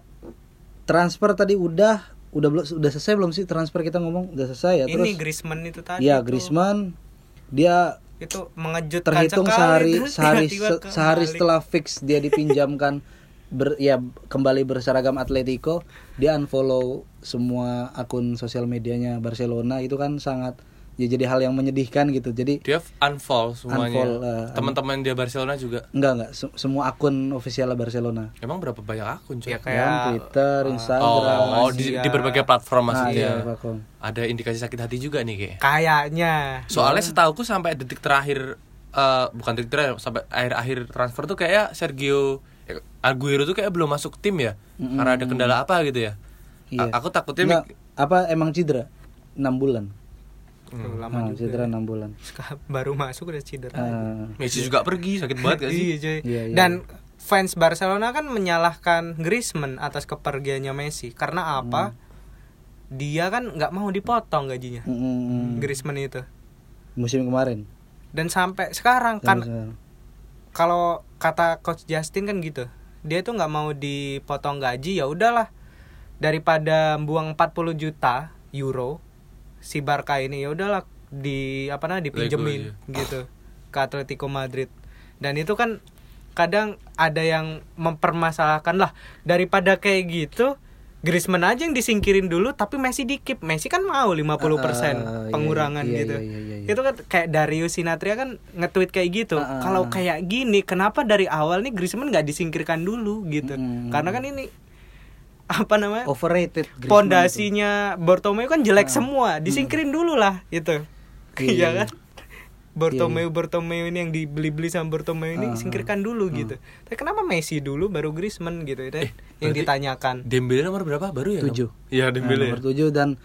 Speaker 2: transfer tadi udah udah belum udah selesai belum sih transfer kita ngomong udah selesai ya
Speaker 1: Ini
Speaker 2: terus
Speaker 1: Griezmann itu tadi.
Speaker 2: ya
Speaker 1: tuh.
Speaker 2: Griezmann dia
Speaker 1: itu mengejutkan
Speaker 2: terhitung
Speaker 1: sekali,
Speaker 2: sehari
Speaker 1: terus
Speaker 2: sehari
Speaker 1: tiba-tiba
Speaker 2: se- sehari
Speaker 1: kembali.
Speaker 2: setelah fix dia dipinjamkan ber, ya kembali berseragam Atletico dia unfollow semua akun sosial medianya Barcelona itu kan sangat ya jadi hal yang menyedihkan gitu jadi
Speaker 3: Dia unfollow semuanya.
Speaker 2: Unfollow, eh,
Speaker 3: Teman-teman dia Barcelona juga.
Speaker 2: enggak enggak se- semua akun ofisial Barcelona
Speaker 3: Emang berapa banyak akun coy?
Speaker 1: ya
Speaker 2: Dan
Speaker 1: kayak
Speaker 2: Twitter,
Speaker 3: Oh,
Speaker 2: Instagram,
Speaker 3: oh, di, di berbagai platform
Speaker 2: ah, iya,
Speaker 3: maksudnya.
Speaker 2: Bakom.
Speaker 3: Ada indikasi sakit hati juga nih kayak.
Speaker 1: kayaknya
Speaker 3: Soalnya
Speaker 2: Iya.
Speaker 3: setauku sampai detik terakhir eh, bukan detik terakhir sampai akhir-akhir transfer tuh kayak Sergio Aguero tuh kayak belum masuk tim ya karena ada kendala apa gitu ya.
Speaker 2: Iya.
Speaker 3: A- aku takutnya
Speaker 2: Enggak, apa emang cedera 6 bulan.
Speaker 1: Tuh, lama
Speaker 2: Ah,
Speaker 1: juga.
Speaker 2: cedera
Speaker 3: ya.
Speaker 2: 6 bulan.
Speaker 1: Suka- baru masuk udah
Speaker 3: Nah,
Speaker 1: cedera
Speaker 2: Ah,
Speaker 3: Messi juga pergi sakit banget gak
Speaker 1: Iya,
Speaker 3: sih?
Speaker 1: coy.
Speaker 2: Iya, iya.
Speaker 1: Dan fans Barcelona kan menyalahkan Griezmann atas kepergiannya Messi karena apa? Dia kan nggak mau dipotong gajinya.
Speaker 3: iya.
Speaker 2: mm, mm, mm.
Speaker 1: Griezmann itu.
Speaker 2: musim kemarin.
Speaker 1: Dan sampai sekarang kan
Speaker 2: Sekarang.
Speaker 1: kalau kata coach Justin kan gitu. Dia tuh nggak mau dipotong gaji ya udahlah. Daripada buang 40 juta euro si Barca ini ya udahlah di apa namanya dipinjemin gitu ke Atletico Madrid. Dan itu kan kadang ada yang mempermasalahkan lah daripada kayak gitu Griezmann aja yang disingkirin dulu tapi Messi dikip. Messi kan mau 50%
Speaker 2: Ah, iya,
Speaker 1: pengurangan
Speaker 2: iya,
Speaker 1: gitu.
Speaker 2: iya, iya, iya, iya.
Speaker 1: Itu kan kayak Darius Sinatria kan nge-tweet kayak gitu.
Speaker 2: Ah, ah,
Speaker 1: Kalau kayak gini, kenapa dari awal nih Griezmann nggak disingkirkan dulu gitu?
Speaker 2: Mm.
Speaker 1: Karena kan ini apa namanya?
Speaker 2: eh, Overrated Oh, Griezmann itu. Hmm.
Speaker 1: Pondasinya Bartomeu kan jelek semua, disingkirin dulu lah gitu.
Speaker 2: Iya,
Speaker 1: Iya
Speaker 2: iya.
Speaker 1: kan? Bartomeu Bartomeu ini yang dibeli-beli sama Bartomeu ini singkirkan dulu gitu. Tapi kenapa Messi dulu baru Griezmann gitu
Speaker 3: Eh,
Speaker 1: dan yang ditanyakan.
Speaker 3: Dembele nomor berapa baru ya?
Speaker 2: Tujuh. Nah,
Speaker 3: Iya Dembele.
Speaker 2: nomor 7 dan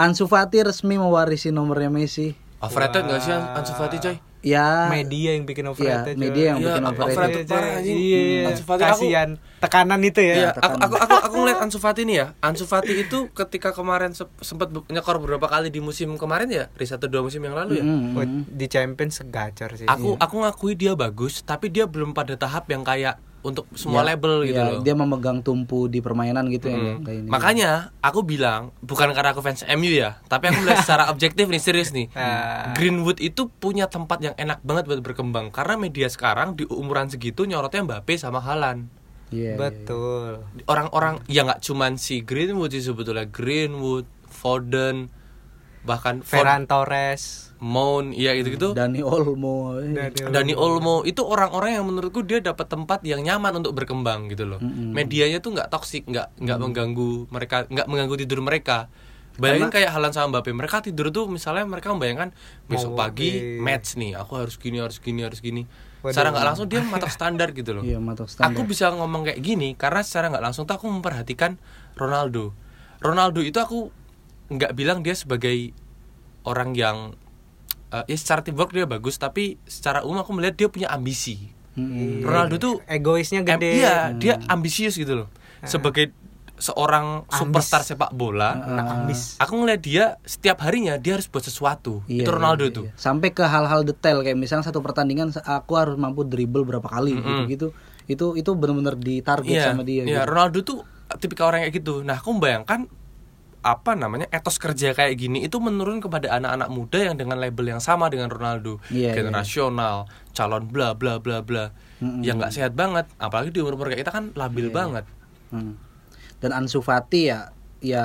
Speaker 2: Ansu Fati resmi mewarisi nomornya Messi.
Speaker 3: Overrated gak sih
Speaker 2: Ah,
Speaker 3: Ansu Fati coy?
Speaker 2: Ya,
Speaker 1: Media yang bikin overrated. coy.
Speaker 2: media yang
Speaker 3: Iya,
Speaker 2: bikin
Speaker 3: overrated.
Speaker 2: overrated.
Speaker 3: Overrated parah, anjing.
Speaker 1: Iya,
Speaker 3: Ansu Fati, aku-
Speaker 1: kasihan tekanan itu ya.
Speaker 3: Iya, aku, aku aku aku ngeliat Ansu Fati nih ya. Ansu Fati itu ketika kemarin sempat nyekor beberapa kali di musim kemarin ya, di satu dua musim yang lalu ya.
Speaker 2: Mm,
Speaker 1: Wah,
Speaker 2: mm.
Speaker 1: di Champions segacor sih.
Speaker 2: Iya,
Speaker 3: Aku aku ngakui dia bagus, tapi dia belum pada tahap yang kayak untuk semua label gitu
Speaker 2: Iya,
Speaker 3: loh.
Speaker 2: Dia memegang tumpu di permainan gitu ya kayak ini.
Speaker 3: Makanya aku bilang bukan karena aku fans MU ya, tapi aku melihat secara objektif nih serius nih. Ah. Greenwood itu punya tempat yang enak banget buat berkembang karena media sekarang di umuran segitu nyorotnya Mbappe sama Halan.
Speaker 2: Iya, iya.
Speaker 1: Betul.
Speaker 3: Orang-orang ya nggak cuman si Greenwood sih sebetulnya Greenwood, Foden, bahkan Ford,
Speaker 1: Ferran Torres.
Speaker 3: Mount, ya gitu-gitu.
Speaker 2: Dani Olmo. eh.
Speaker 3: Dani Olmo itu orang-orang yang menurutku dia dapat tempat yang nyaman untuk berkembang gitu loh. Medianya tuh nggak toksik, nggak nggak mengganggu mereka, nggak mengganggu tidur mereka. Bayangin kayak halan sama Mbappe, mereka tidur tuh misalnya mereka membayangkan besok pagi match nih, aku harus gini, harus gini, harus gini. Secara nggak langsung dia matok standar gitu loh.
Speaker 2: Iya, matok
Speaker 3: Aku bisa ngomong kayak gini karena secara nggak langsung tuh aku memperhatikan Ronaldo. Ronaldo itu aku nggak bilang dia sebagai orang yang eh, ya secara teamwork dia bagus tapi secara umum aku melihat dia punya
Speaker 2: Hmm.
Speaker 3: ambisi. Ronaldo tuh iya,
Speaker 1: Egoisnya
Speaker 3: em-
Speaker 1: gede.
Speaker 3: iya, dia ambisius gitu loh. Sebagai seorang superstar sepak bola,
Speaker 2: Ah,
Speaker 3: aku ngeliat dia setiap harinya dia harus buat sesuatu.
Speaker 2: Iya,
Speaker 3: itu Ronaldo
Speaker 2: iya,
Speaker 3: tuh.
Speaker 2: iya. Sampai ke hal-hal detail kayak misalnya satu pertandingan aku harus mampu dribble berapa kali gitu-gitu. Itu itu benar-benar ditarget
Speaker 3: Iya,
Speaker 2: sama dia.
Speaker 3: iya,
Speaker 2: gitu.
Speaker 3: Ronaldo tuh tipikal orang kayak gitu. Nah, aku membayangkan apa namanya etos kerja kayak gini itu menurun kepada anak-anak muda yang dengan label yang sama dengan Ronaldo,
Speaker 2: Iya,
Speaker 3: generasional, calon bla bla bla bla, yang nggak sehat banget. Apalagi di umur-umur kayak kita kan
Speaker 2: Iya,
Speaker 3: labil banget.
Speaker 2: Hmm. Dan Ansu Fati ya ya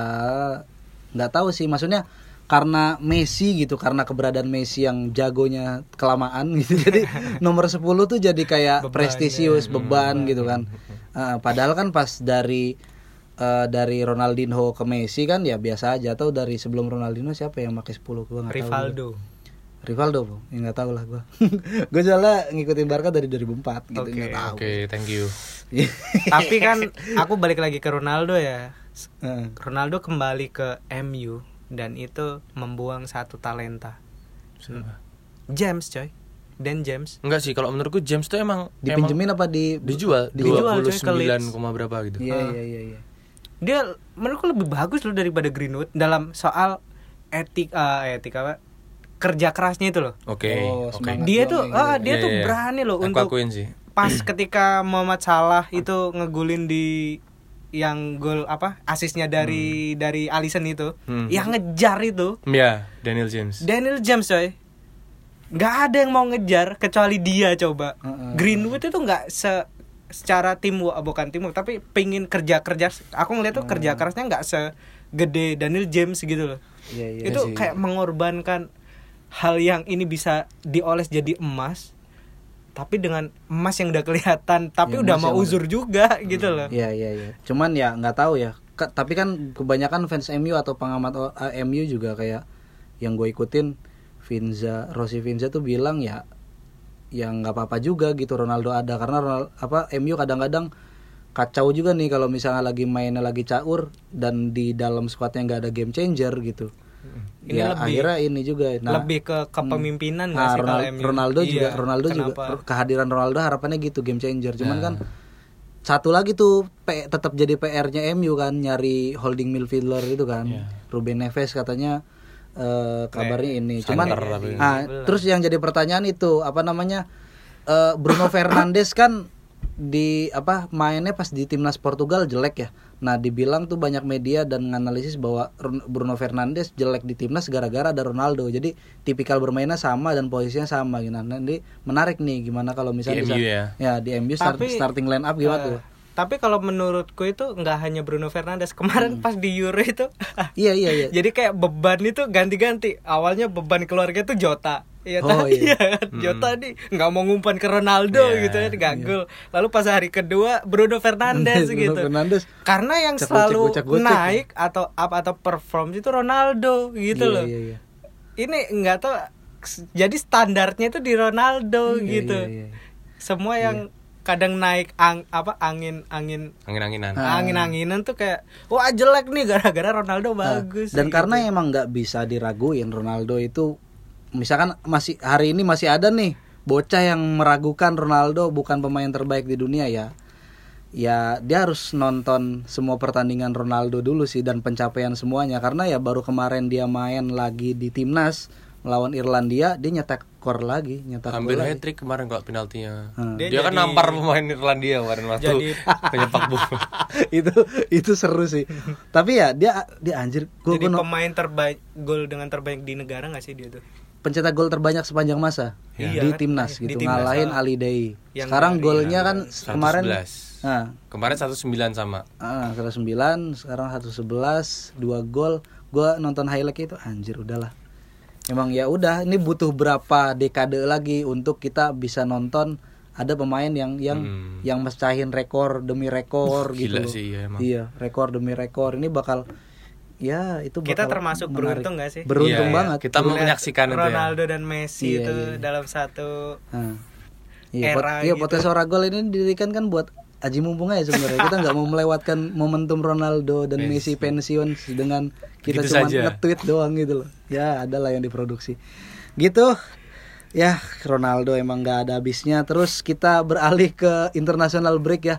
Speaker 2: nggak tahu sih maksudnya karena Messi gitu karena keberadaan Messi yang jagonya kelamaan gitu jadi nomor 10 tuh jadi kayak prestisius
Speaker 3: Hmm,
Speaker 2: beban gitu kan Eh, padahal kan pas dari eh, dari Ronaldinho ke Messi kan ya biasa aja atau dari sebelum Ronaldinho siapa yang pakai 10 gua nggak tahu
Speaker 1: Rivaldo.
Speaker 2: Rivaldo Bro. ya nggak tahu lah gua gua soalnya ngikutin Barca dari 2004 gitu
Speaker 1: Oke,
Speaker 2: nggak tahu Iya.
Speaker 3: Oke, thank you.
Speaker 1: Tapi kan aku balik lagi ke Ronaldo ya.
Speaker 2: Heeh.
Speaker 1: Ronaldo kembali ke MU dan itu membuang satu talenta. James coy. Dan James
Speaker 3: Enggak sih, kalau menurutku James tuh emang emang
Speaker 2: dipinjemin apa di
Speaker 3: dijual
Speaker 1: Dijual, coy, ke
Speaker 3: 29, koma berapa gitu.
Speaker 2: Iya iya iya iya.
Speaker 1: dia menurutku lebih bagus loh daripada Greenwood dalam soal etik eh, etik apa kerja kerasnya itu loh.
Speaker 3: Oke,
Speaker 2: Oh,
Speaker 3: Eh, oke.
Speaker 2: semangat.
Speaker 1: Dia tuh
Speaker 2: Iya,
Speaker 1: ah, dia
Speaker 3: Iya,
Speaker 1: tuh
Speaker 3: iya, iya.
Speaker 1: berani loh
Speaker 3: Aku
Speaker 1: untuk
Speaker 3: akuin sih.
Speaker 1: pas ketika Muhammad Salah itu ngegulin di yang gol apa asisnya dari dari Alisson itu
Speaker 3: Hmm.
Speaker 1: yang ngejar itu
Speaker 3: Ya, Daniel James.
Speaker 1: Daniel James coy nggak ada yang mau ngejar kecuali dia coba
Speaker 2: Heeh.
Speaker 1: Greenwood itu nggak se secara tim bukan tim tapi pingin kerja kerja aku ngeliat tuh kerja kerasnya nggak segede Daniel James gitu loh
Speaker 2: Iya iya.
Speaker 1: itu kayak mengorbankan hal yang ini bisa dioles jadi emas tapi dengan emas yang udah kelihatan tapi
Speaker 2: Ya,
Speaker 1: udah
Speaker 2: emas
Speaker 1: mau
Speaker 2: yang
Speaker 1: uzur juga gitu loh
Speaker 2: Iya iya iya. Cuman ya nggak tahu ya. Ke- tapi kan kebanyakan fans MU atau pengamat o- eh, MU juga kayak yang gue ikutin Vinza, Rossi Vinza tuh bilang ya yang nggak apa-apa juga gitu Ronaldo ada karena Ronal- apa MU kadang-kadang kacau juga nih kalau misalnya lagi mainnya lagi caur dan di dalam squadnya nggak ada game changer gitu.
Speaker 1: Ini
Speaker 2: ya
Speaker 1: lebih-
Speaker 2: akhirnya ini juga. Nah,
Speaker 1: lebih ke kepemimpinan nggak
Speaker 2: Ah,
Speaker 1: sih kalau
Speaker 2: Ronal-
Speaker 1: MU?
Speaker 2: Ronaldo
Speaker 1: Iya,
Speaker 2: juga Ronaldo
Speaker 1: kenapa?
Speaker 2: juga kehadiran Ronaldo harapannya gitu game changer cuman kan satu lagi tuh P- tetap jadi PR-nya MU kan nyari holding midfielder itu kan Ruben Neves katanya eh, kabarnya ini cuman
Speaker 3: center tapi.
Speaker 2: ah, terus yang jadi pertanyaan itu apa namanya eh, Bruno Fernandes kan di apa mainnya pas di timnas Portugal jelek ya nah dibilang tuh banyak media dan analisis bahwa Run- Bruno Fernandes jelek di timnas gara-gara ada Ronaldo jadi tipikal bermainnya sama dan posisinya sama gitu nah nanti menarik nih gimana kalau misalnya
Speaker 3: Di
Speaker 2: bisa-
Speaker 3: MU ya?
Speaker 2: di MU start-
Speaker 1: Tapi, eh,
Speaker 2: starting line up gimana tuh
Speaker 1: tapi kalau menurutku itu nggak hanya Bruno Fernandes
Speaker 2: Hmm.
Speaker 1: kemarin pas di Euro itu
Speaker 2: iya iya iya
Speaker 1: jadi kayak beban itu ganti-ganti awalnya beban keluarga itu Jota Iya,
Speaker 2: Oh,
Speaker 1: tadi
Speaker 2: iya.
Speaker 1: ya kan? Jota nih nggak mau ngumpan ke Ronaldo gitu kan nggak gol. Lalu pas hari kedua Bruno Fernandes
Speaker 2: Bruno
Speaker 1: gitu.
Speaker 2: Fernandes.
Speaker 1: Karena yang
Speaker 2: Cak gocek,
Speaker 1: selalu
Speaker 2: gocek, ya? gocek.
Speaker 1: naik atau up atau perform itu Ronaldo gitu
Speaker 2: Iya,
Speaker 1: loh.
Speaker 2: iya, iya.
Speaker 1: Ini nggak tahu jadi standarnya itu di Ronaldo
Speaker 2: Iya,
Speaker 1: gitu.
Speaker 2: iya, iya.
Speaker 1: Semua yang kadang naik ang apa angin angin
Speaker 3: Angin-anginan.
Speaker 2: Ah.
Speaker 1: angin anginan tuh kayak wah jelek nih gara-gara Ronaldo
Speaker 2: Nah,
Speaker 1: bagus.
Speaker 2: dan karena emang nggak bisa diraguin Ronaldo itu misalkan masih hari ini masih ada nih bocah yang meragukan Ronaldo bukan pemain terbaik di dunia ya ya dia harus nonton semua pertandingan Ronaldo dulu sih dan pencapaian semuanya karena ya baru kemarin dia main lagi di timnas melawan Irlandia dia nyetak skor lagi nyetak
Speaker 3: Hampir
Speaker 2: gol lagi.
Speaker 3: hat trick kemarin kalau penaltinya.
Speaker 1: Dia
Speaker 2: Ah.
Speaker 3: Dia, kan
Speaker 1: jadi-
Speaker 3: nampar pemain Irlandia kemarin waktu
Speaker 1: Jadi-
Speaker 3: penyepak bola.
Speaker 2: itu itu seru sih tapi ya dia dia anjir gua,
Speaker 1: Jadi
Speaker 2: gua no-
Speaker 1: pemain terbaik gol dengan terbaik di negara nggak sih dia tuh?
Speaker 2: pencetak gol terbanyak sepanjang masa
Speaker 1: Iya.
Speaker 2: di
Speaker 1: Iya,
Speaker 2: timnas
Speaker 1: di
Speaker 2: gitu
Speaker 1: timnas.
Speaker 2: ngalahin Ali Dei.
Speaker 1: Yang
Speaker 2: Sekarang
Speaker 1: dari
Speaker 2: golnya kan kemarin
Speaker 3: 111.
Speaker 2: nah,
Speaker 3: Kemarin 109 sama.
Speaker 2: ah, 109, sekarang 111, dua gol. Gua nonton highlight itu anjir udahlah. Emang ya udah ini butuh berapa dekade lagi untuk kita bisa nonton ada pemain yang yang
Speaker 1: Hmm.
Speaker 2: yang mecahin rekor demi rekor gitu.
Speaker 3: Gila
Speaker 2: loh.
Speaker 3: sih ya emang.
Speaker 2: Iya, rekor demi rekor. Ini bakal ya itu
Speaker 1: Kita
Speaker 2: bakal
Speaker 1: termasuk
Speaker 2: menarik.
Speaker 1: beruntung nggak sih?
Speaker 2: Beruntung
Speaker 3: Iya, iya.
Speaker 2: banget.
Speaker 3: Kita mau menyaksikan itu ya.
Speaker 1: Ronaldo dan Messi
Speaker 2: Iya,
Speaker 1: itu
Speaker 2: iya, iya.
Speaker 1: dalam satu
Speaker 2: Nah. Iya, pot,
Speaker 1: Era
Speaker 2: iya
Speaker 1: gitu.
Speaker 2: potensi orang gol ini didirikan kan buat aji mumpung aja sebenarnya. Kita nggak mau melewatkan momentum Ronaldo dan Messi pensiun dengan kita
Speaker 3: Gitu
Speaker 2: cuma
Speaker 3: saja.
Speaker 2: nge-tweet doang gitu loh. Ya, adalah yang diproduksi. Gitu. Ya, Ronaldo emang nggak ada habisnya. Terus kita beralih ke international break ya.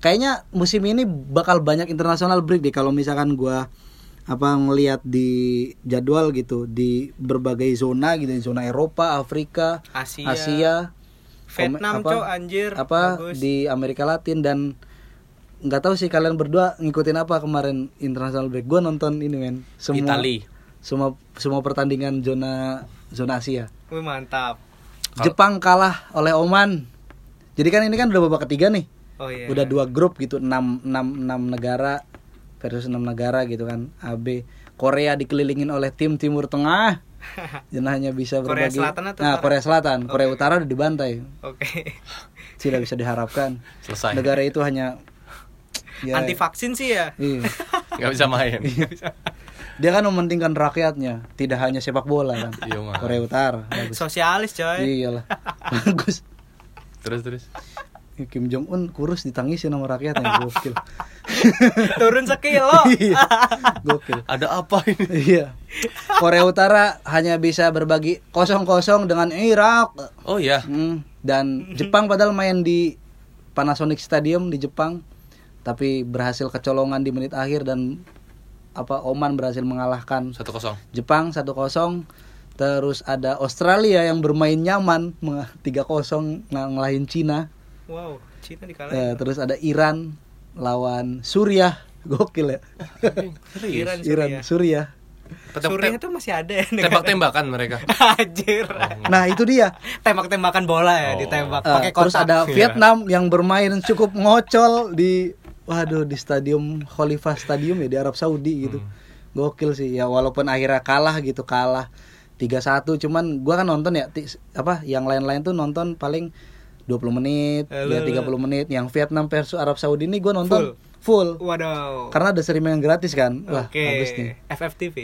Speaker 2: kayaknya musim ini bakal banyak internasional break deh kalau misalkan gua apa ngelihat di jadwal gitu di berbagai zona gitu di zona Eropa, Afrika,
Speaker 1: Asia.
Speaker 2: Asia
Speaker 1: Iya. Vietnam
Speaker 2: apa-
Speaker 1: cok anjir
Speaker 2: apa
Speaker 1: bagus.
Speaker 2: di Amerika Latin dan nggak tahu sih kalian berdua ngikutin apa kemarin international break gue nonton ini men semua
Speaker 3: Itali.
Speaker 2: semua semua pertandingan zona zona Asia
Speaker 1: Wih, mantap
Speaker 2: Jepang kalah oleh Oman jadi kan ini kan udah babak ketiga nih
Speaker 1: oh iya
Speaker 2: udah dua grup gitu 6 enam enam negara versus enam negara gitu kan AB Korea dikelilingin oleh tim Timur Tengah dan hanya bisa
Speaker 1: Korea
Speaker 2: berbagi
Speaker 1: Selatan atau
Speaker 2: nah
Speaker 1: Utara?
Speaker 2: Korea Selatan Korea Utara udah dibantai
Speaker 1: oke
Speaker 2: tidak bisa diharapkan
Speaker 3: Selesai.
Speaker 2: negara itu hanya ya,
Speaker 1: anti vaksin sih ya
Speaker 2: iya.
Speaker 3: nggak bisa main.
Speaker 2: dia kan mementingkan rakyatnya tidak hanya sepak bola kan
Speaker 3: Iya, Mas.
Speaker 2: Korea Utara bagus Iya.
Speaker 1: sosialis coy
Speaker 2: iyalah bagus Ya,
Speaker 3: terus terus.
Speaker 2: Kim Jong Un kurus ditangisin sama rakyatnya gokil
Speaker 1: turun sekilo
Speaker 2: Iya. gokil
Speaker 3: Ada apa ini?
Speaker 2: iya Korea Utara hanya bisa berbagi kosong-kosong dengan Irak
Speaker 3: Oh ya,
Speaker 2: Hmm, dan Jepang padahal main di Panasonic Stadium di Jepang tapi berhasil kecolongan di menit akhir dan apa Oman berhasil mengalahkan
Speaker 3: satu kosong.
Speaker 2: Jepang 1-0 terus ada Australia yang bermain nyaman meng- 3-0 ng- ngelahin Cina
Speaker 1: wow Cina
Speaker 2: Eh,
Speaker 1: dikalahin
Speaker 2: terus ada Iran lawan Suriah gokil ya
Speaker 1: Iran
Speaker 2: Iran
Speaker 1: Iran
Speaker 2: Suriah
Speaker 1: Suriah itu masih ada ya negara.
Speaker 3: Tembak-tembakan mereka.
Speaker 1: anjir
Speaker 2: nah itu dia
Speaker 1: tembak-tembakan bola ya
Speaker 3: Oh.
Speaker 1: ditembak
Speaker 2: Eh,
Speaker 1: pakai
Speaker 2: terus
Speaker 1: kotak Iya.
Speaker 2: ada Vietnam yang bermain cukup ngocol di waduh di stadium Khalifah Stadium ya di Arab Saudi
Speaker 1: Hmm.
Speaker 2: gitu. Gokil sih ya walaupun akhirnya kalah gitu kalah 3-1 cuman gua kan nonton ya ti- apa yang lain-lain tuh nonton paling 20 menit,
Speaker 1: Eh,
Speaker 2: ya
Speaker 1: lu-
Speaker 2: 30 menit. Yang Vietnam versus Arab Saudi ini gua nonton full.
Speaker 1: waduh
Speaker 2: Karena ada streaming yang gratis kan. Wah,
Speaker 1: oke
Speaker 2: bagus nih.
Speaker 1: FFTV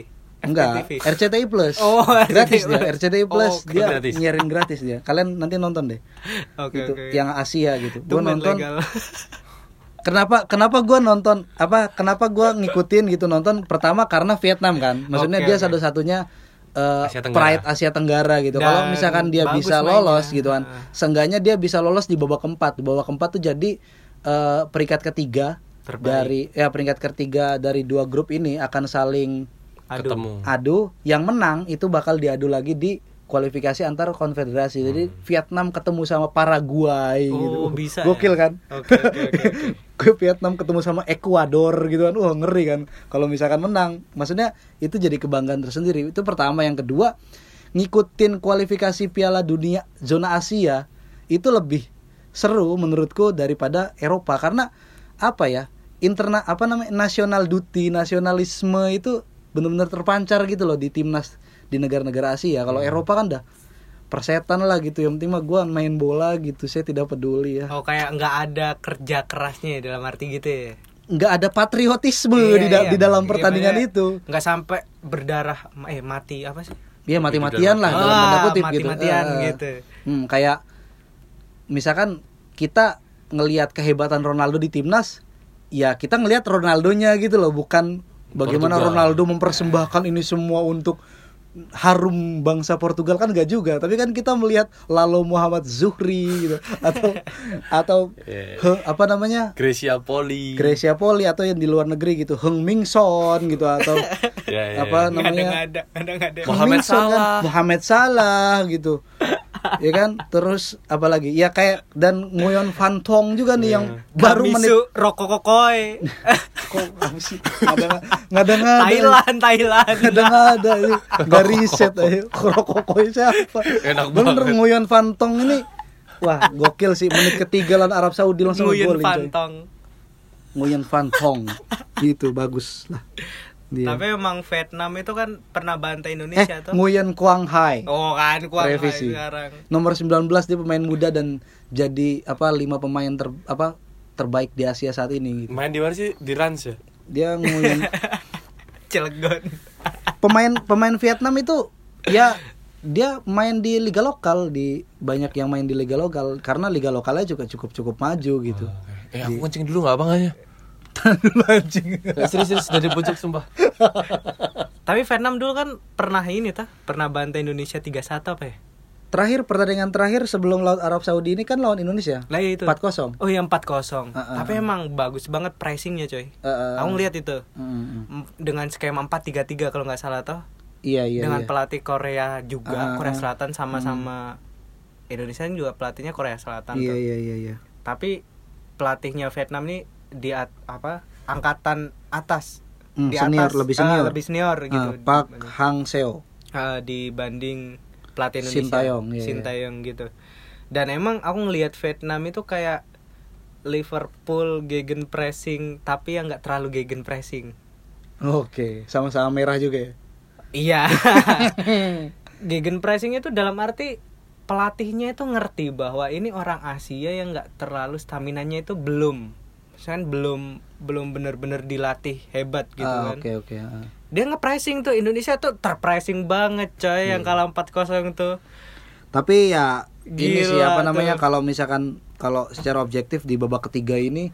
Speaker 2: Enggak,
Speaker 1: FFTV.
Speaker 2: RCTI Plus.
Speaker 1: Oh,
Speaker 2: gratis
Speaker 1: RCTI
Speaker 2: dia, RCTI Plus.
Speaker 1: Oke.
Speaker 2: dia
Speaker 3: Gratis.
Speaker 2: nyiarin gratis dia. Kalian nanti nonton deh
Speaker 1: oke
Speaker 2: gitu
Speaker 1: oke
Speaker 2: yang Asia gitu. Gue
Speaker 1: Tumben
Speaker 2: nonton.
Speaker 1: legal.
Speaker 2: Kenapa kenapa gue nonton apa kenapa gue ngikutin gitu nonton pertama karena Vietnam kan. Maksudnya
Speaker 1: Oke,
Speaker 2: dia
Speaker 1: oke.
Speaker 2: satu-satunya eh,
Speaker 3: Asia Tenggara.
Speaker 2: pride Asia Tenggara gitu.
Speaker 1: Dan
Speaker 2: Kalau misalkan dia
Speaker 1: bagus
Speaker 2: bisa
Speaker 1: mainnya.
Speaker 2: lolos gitu kan,
Speaker 1: Ah.
Speaker 2: seenggaknya dia bisa lolos di babak keempat. Di babak keempat tuh jadi eh, peringkat ketiga
Speaker 1: Terbaik.
Speaker 2: dari ya peringkat ketiga dari dua grup ini akan saling
Speaker 1: Aduh.
Speaker 3: Ketemu.
Speaker 2: adu yang menang itu bakal diadu lagi di kualifikasi antar konfederasi jadi Vietnam ketemu sama Paraguay
Speaker 1: Hmm. Oh,
Speaker 2: gitu
Speaker 1: bisa
Speaker 2: gokil
Speaker 1: ya?
Speaker 2: kan
Speaker 1: Oke, oke, oke, oke.
Speaker 2: Gue Vietnam ketemu sama Ekuador gitu kan wah ngeri kan kalau misalkan menang maksudnya itu jadi kebanggaan tersendiri itu pertama yang kedua ngikutin kualifikasi Piala Dunia zona Asia itu lebih seru menurutku daripada Eropa karena apa ya interna apa namanya national duty nasionalisme itu benar-benar terpancar gitu loh di timnas di negara-negara Asia kalau Eropa kan dah persetan lah gitu yang penting mah gue main bola gitu saya tidak peduli ya
Speaker 1: Oh kayak nggak ada kerja kerasnya ya, dalam arti gitu ya.
Speaker 2: nggak ada patriotisme
Speaker 1: Iya,
Speaker 2: di, da-
Speaker 1: iya.
Speaker 2: di dalam
Speaker 1: Iya,
Speaker 2: pertandingan
Speaker 1: makanya
Speaker 2: itu
Speaker 1: Nggak sampai berdarah eh mati apa sih?
Speaker 2: ya mati-matian lah dalam tanda
Speaker 1: Ah,
Speaker 2: kutip gitu
Speaker 1: mati-matian
Speaker 2: Eh, eh.
Speaker 1: gitu.
Speaker 2: Hmm, kayak misalkan kita ngelihat kehebatan Ronaldo di timnas ya kita ngelihat Ronaldonya gitu loh bukan bagaimana
Speaker 3: Portugal.
Speaker 2: Ronaldo mempersembahkan ini semua untuk harum bangsa Portugal kan gak juga tapi kan kita melihat Lalo Muhammad Zuhri gitu atau atau
Speaker 3: Eh.
Speaker 2: he- apa namanya
Speaker 3: Gracia Poli.
Speaker 2: Gracia Poli atau yang di luar negeri gitu Heng Ming Son gitu atau
Speaker 3: Ya, ya,
Speaker 1: Nggak
Speaker 2: apa
Speaker 3: ya.
Speaker 1: ada
Speaker 2: namanya
Speaker 1: nggak ada nggak ada.
Speaker 2: Heng
Speaker 3: Mohamed
Speaker 2: Ming Son kan,
Speaker 3: Salah.
Speaker 2: Mohamed Salah gitu ya kan terus apalagi ya kayak dan Nguyen Van Tong juga
Speaker 3: Iya.
Speaker 2: nih yang baru
Speaker 1: Baru
Speaker 2: menit
Speaker 1: menit rokokokoi.
Speaker 2: kok apa sih ngada ngada
Speaker 1: Thailand, Thailand.
Speaker 2: ada ada nggak riset ayo Rokokoi siapa
Speaker 3: Enak
Speaker 2: bener
Speaker 3: banget.
Speaker 2: Nguyen Van Tong ini wah gokil sih menit ketiga lawan Arab Saudi langsung
Speaker 1: Nguyen
Speaker 2: ngegolin, coy.
Speaker 1: Fantong.
Speaker 2: Nguyen Van Tong gitu bagus lah dia
Speaker 1: Tapi emang Vietnam itu kan pernah bantai
Speaker 2: Iya. eh
Speaker 1: Indonesia tuh.
Speaker 2: Nguyen Quang Hai
Speaker 1: Oh kan kuat
Speaker 2: Revisi.
Speaker 1: sekarang.
Speaker 2: nomor 19 dia pemain muda dan jadi apa lima pemain ter apa terbaik di Asia saat ini gitu.
Speaker 3: Main di mana sih? Di Rans ya?
Speaker 2: Dia Nguyen
Speaker 1: Cilegon.
Speaker 2: pemain pemain Vietnam itu ya dia main di liga lokal di banyak yang main di liga lokal karena liga lokalnya juga cukup cukup maju gitu.
Speaker 1: Ah,
Speaker 3: Eh aku kencing dulu nggak apa nggak ya?
Speaker 2: Anjing.
Speaker 3: Eh, Serius serius dari pojok sumpah.
Speaker 1: Tapi Vietnam dulu kan pernah ini tah, pernah bantai Indonesia 3-1 apa ya?
Speaker 2: Terakhir pertandingan terakhir sebelum lawan Arab Saudi ini kan lawan Indonesia.
Speaker 1: Lah iya itu.
Speaker 2: 4-0.
Speaker 1: Oh iya 4-0.
Speaker 2: Heeh.
Speaker 1: Tapi emang bagus banget pressingnya coy.
Speaker 2: Heeh.
Speaker 1: Aku ngeliat itu.
Speaker 2: Mm-mm.
Speaker 1: M- Dengan skema 4-3-3 kalau nggak salah toh.
Speaker 2: mm. Iya iya.
Speaker 1: Dengan
Speaker 2: iya.
Speaker 1: pelatih Korea juga,
Speaker 2: Ah,
Speaker 1: Korea
Speaker 2: ah.
Speaker 1: Selatan sama-sama Indonesia kan juga pelatihnya Korea Selatan tuh.
Speaker 2: Iya iya iya iya.
Speaker 1: Tapi pelatihnya Vietnam nih di at- apa? angkatan atas.
Speaker 2: Hmm,
Speaker 1: di
Speaker 2: senior,
Speaker 1: atas,
Speaker 2: lebih
Speaker 1: eh,
Speaker 2: senior.
Speaker 1: lebih senior gitu.
Speaker 2: Ah, Park Hang Seo.
Speaker 1: Eh, dibanding pelatih Indonesia
Speaker 2: Shin Tae-yong, iya,
Speaker 1: Shin
Speaker 2: iya.
Speaker 1: Tae-yong gitu dan emang aku ngelihat Vietnam itu kayak Liverpool gegen pressing tapi yang nggak terlalu gegen pressing
Speaker 2: Oke, sama-sama merah juga ya.
Speaker 1: iya gegen pressing itu dalam arti pelatihnya itu ngerti bahwa ini orang Asia yang nggak terlalu staminanya itu belum kan belum belum bener-bener dilatih hebat gitu
Speaker 2: Ah,
Speaker 1: kan
Speaker 2: Oke oke. ah.
Speaker 1: dia nge-pressing tuh Indonesia tuh terpressing banget coy
Speaker 2: Iya.
Speaker 1: yang kalah 4-0 tuh
Speaker 2: Tapi ya
Speaker 1: Gila
Speaker 2: ini sih apa namanya
Speaker 1: tuh.
Speaker 2: kalau misalkan kalau secara objektif di babak ketiga ini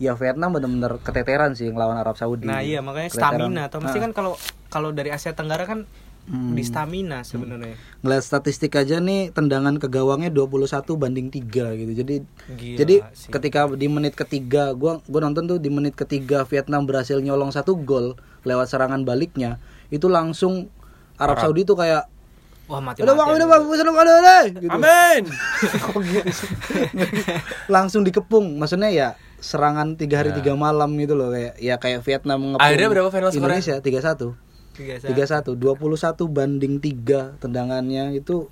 Speaker 2: ya Vietnam benar-benar keteteran sih ngelawan Arab Saudi.
Speaker 1: Nah iya makanya
Speaker 2: Keteteran.
Speaker 1: stamina atau mesti
Speaker 2: Ah.
Speaker 1: kan kalau kalau dari Asia Tenggara kan
Speaker 2: Hmm.
Speaker 1: di stamina sebenarnya.
Speaker 2: Ngeliat statistik aja nih tendangan ke gawangnya 21 banding 3 gitu. Jadi
Speaker 1: Gila
Speaker 2: jadi
Speaker 1: sih.
Speaker 2: ketika di menit ketiga gua gua nonton tuh di menit ketiga Vietnam berhasil nyolong satu gol lewat serangan baliknya. Itu langsung Arab Saudi tuh kayak
Speaker 1: Wah mati
Speaker 2: udah bang, udah bang, udah bang, udah udah gitu.
Speaker 3: Amin.
Speaker 2: Kok gitu sih? langsung dikepung. Maksudnya ya serangan tiga hari tiga malam gitu loh kayak ya kayak Vietnam ngepung.
Speaker 3: Ya. Akhirnya berapa final skornya?
Speaker 2: Indonesia 3-1.
Speaker 1: ya.
Speaker 2: 31 21 banding 3 tendangannya itu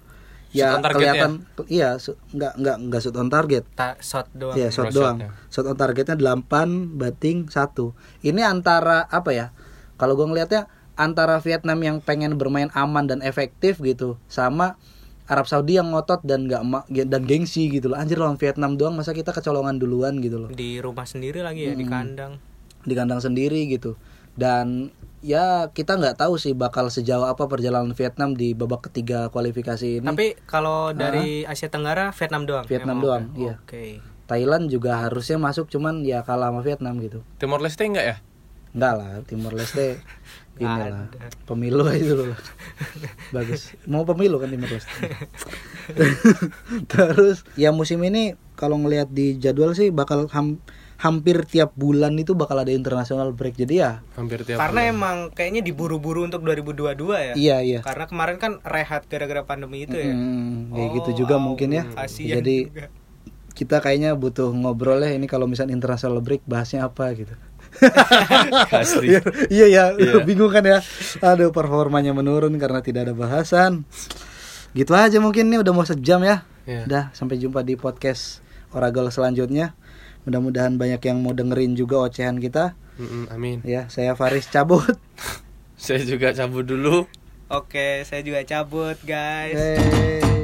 Speaker 2: ya
Speaker 3: Shoot on target ya?
Speaker 2: kelihatan iya su- nggak nggak nggak shoot on target
Speaker 1: shot doang.
Speaker 2: ya shot
Speaker 3: Cross
Speaker 2: doang
Speaker 3: shotnya.
Speaker 2: shot on targetnya 8 batting 1 ini antara apa ya kalau gue ngelihatnya antara Vietnam yang pengen bermain aman dan efektif gitu sama Arab Saudi yang ngotot dan nggak ma- dan gengsi gitu loh anjir lawan Vietnam doang masa kita kecolongan duluan gitu loh
Speaker 1: Di rumah sendiri lagi ya di
Speaker 2: Hmm.
Speaker 1: kandang.
Speaker 2: di kandang sendiri gitu dan ya kita nggak tahu sih bakal sejauh apa perjalanan Vietnam di babak ketiga kualifikasi ini Ah.
Speaker 1: Tapi kalau dari Asia Tenggara Vietnam doang.
Speaker 2: Vietnam
Speaker 1: emang.
Speaker 2: doang, iya.
Speaker 1: Oke.
Speaker 2: Thailand juga harusnya masuk cuman ya kalah sama Vietnam gitu
Speaker 3: Timor Leste enggak ya?
Speaker 2: enggak lah Timor Leste inilah
Speaker 1: Ada.
Speaker 2: pemilu aja dulu lah. bagus mau pemilu kan Timor Leste terus ya musim ini kalau ngelihat di jadwal sih bakal ham- hampir tiap bulan itu bakal ada international break jadi ya
Speaker 3: Hampir tiap.
Speaker 1: Karena emang kayaknya diburu-buru untuk 2022 ya.
Speaker 2: iya iya
Speaker 1: Karena kemarin kan rehat gara-gara pandemi itu ya.
Speaker 2: Hmm, kayak
Speaker 1: Oh,
Speaker 2: gitu
Speaker 1: au,
Speaker 2: juga mungkin ya.
Speaker 1: kasihan
Speaker 2: Jadi
Speaker 1: juga.
Speaker 2: kita kayaknya butuh ngobrol ya ini kalau misalnya international break bahasnya apa gitu.
Speaker 3: Pasti.
Speaker 2: Iya iya ya, bingung kan ya. Aduh performanya menurun karena tidak ada bahasan. Gitu aja mungkin nih udah mau sejam ya.
Speaker 3: Iya.
Speaker 2: Udah sampai jumpa di podcast Oragol selanjutnya. Mudah-mudahan banyak yang mau dengerin juga ocehan kita.
Speaker 3: Mm-mm, amin.
Speaker 2: Ya, saya Faris cabut.
Speaker 3: Saya juga cabut dulu.
Speaker 2: Eh,
Speaker 1: Oke, saya juga cabut, guys.
Speaker 2: Yeay.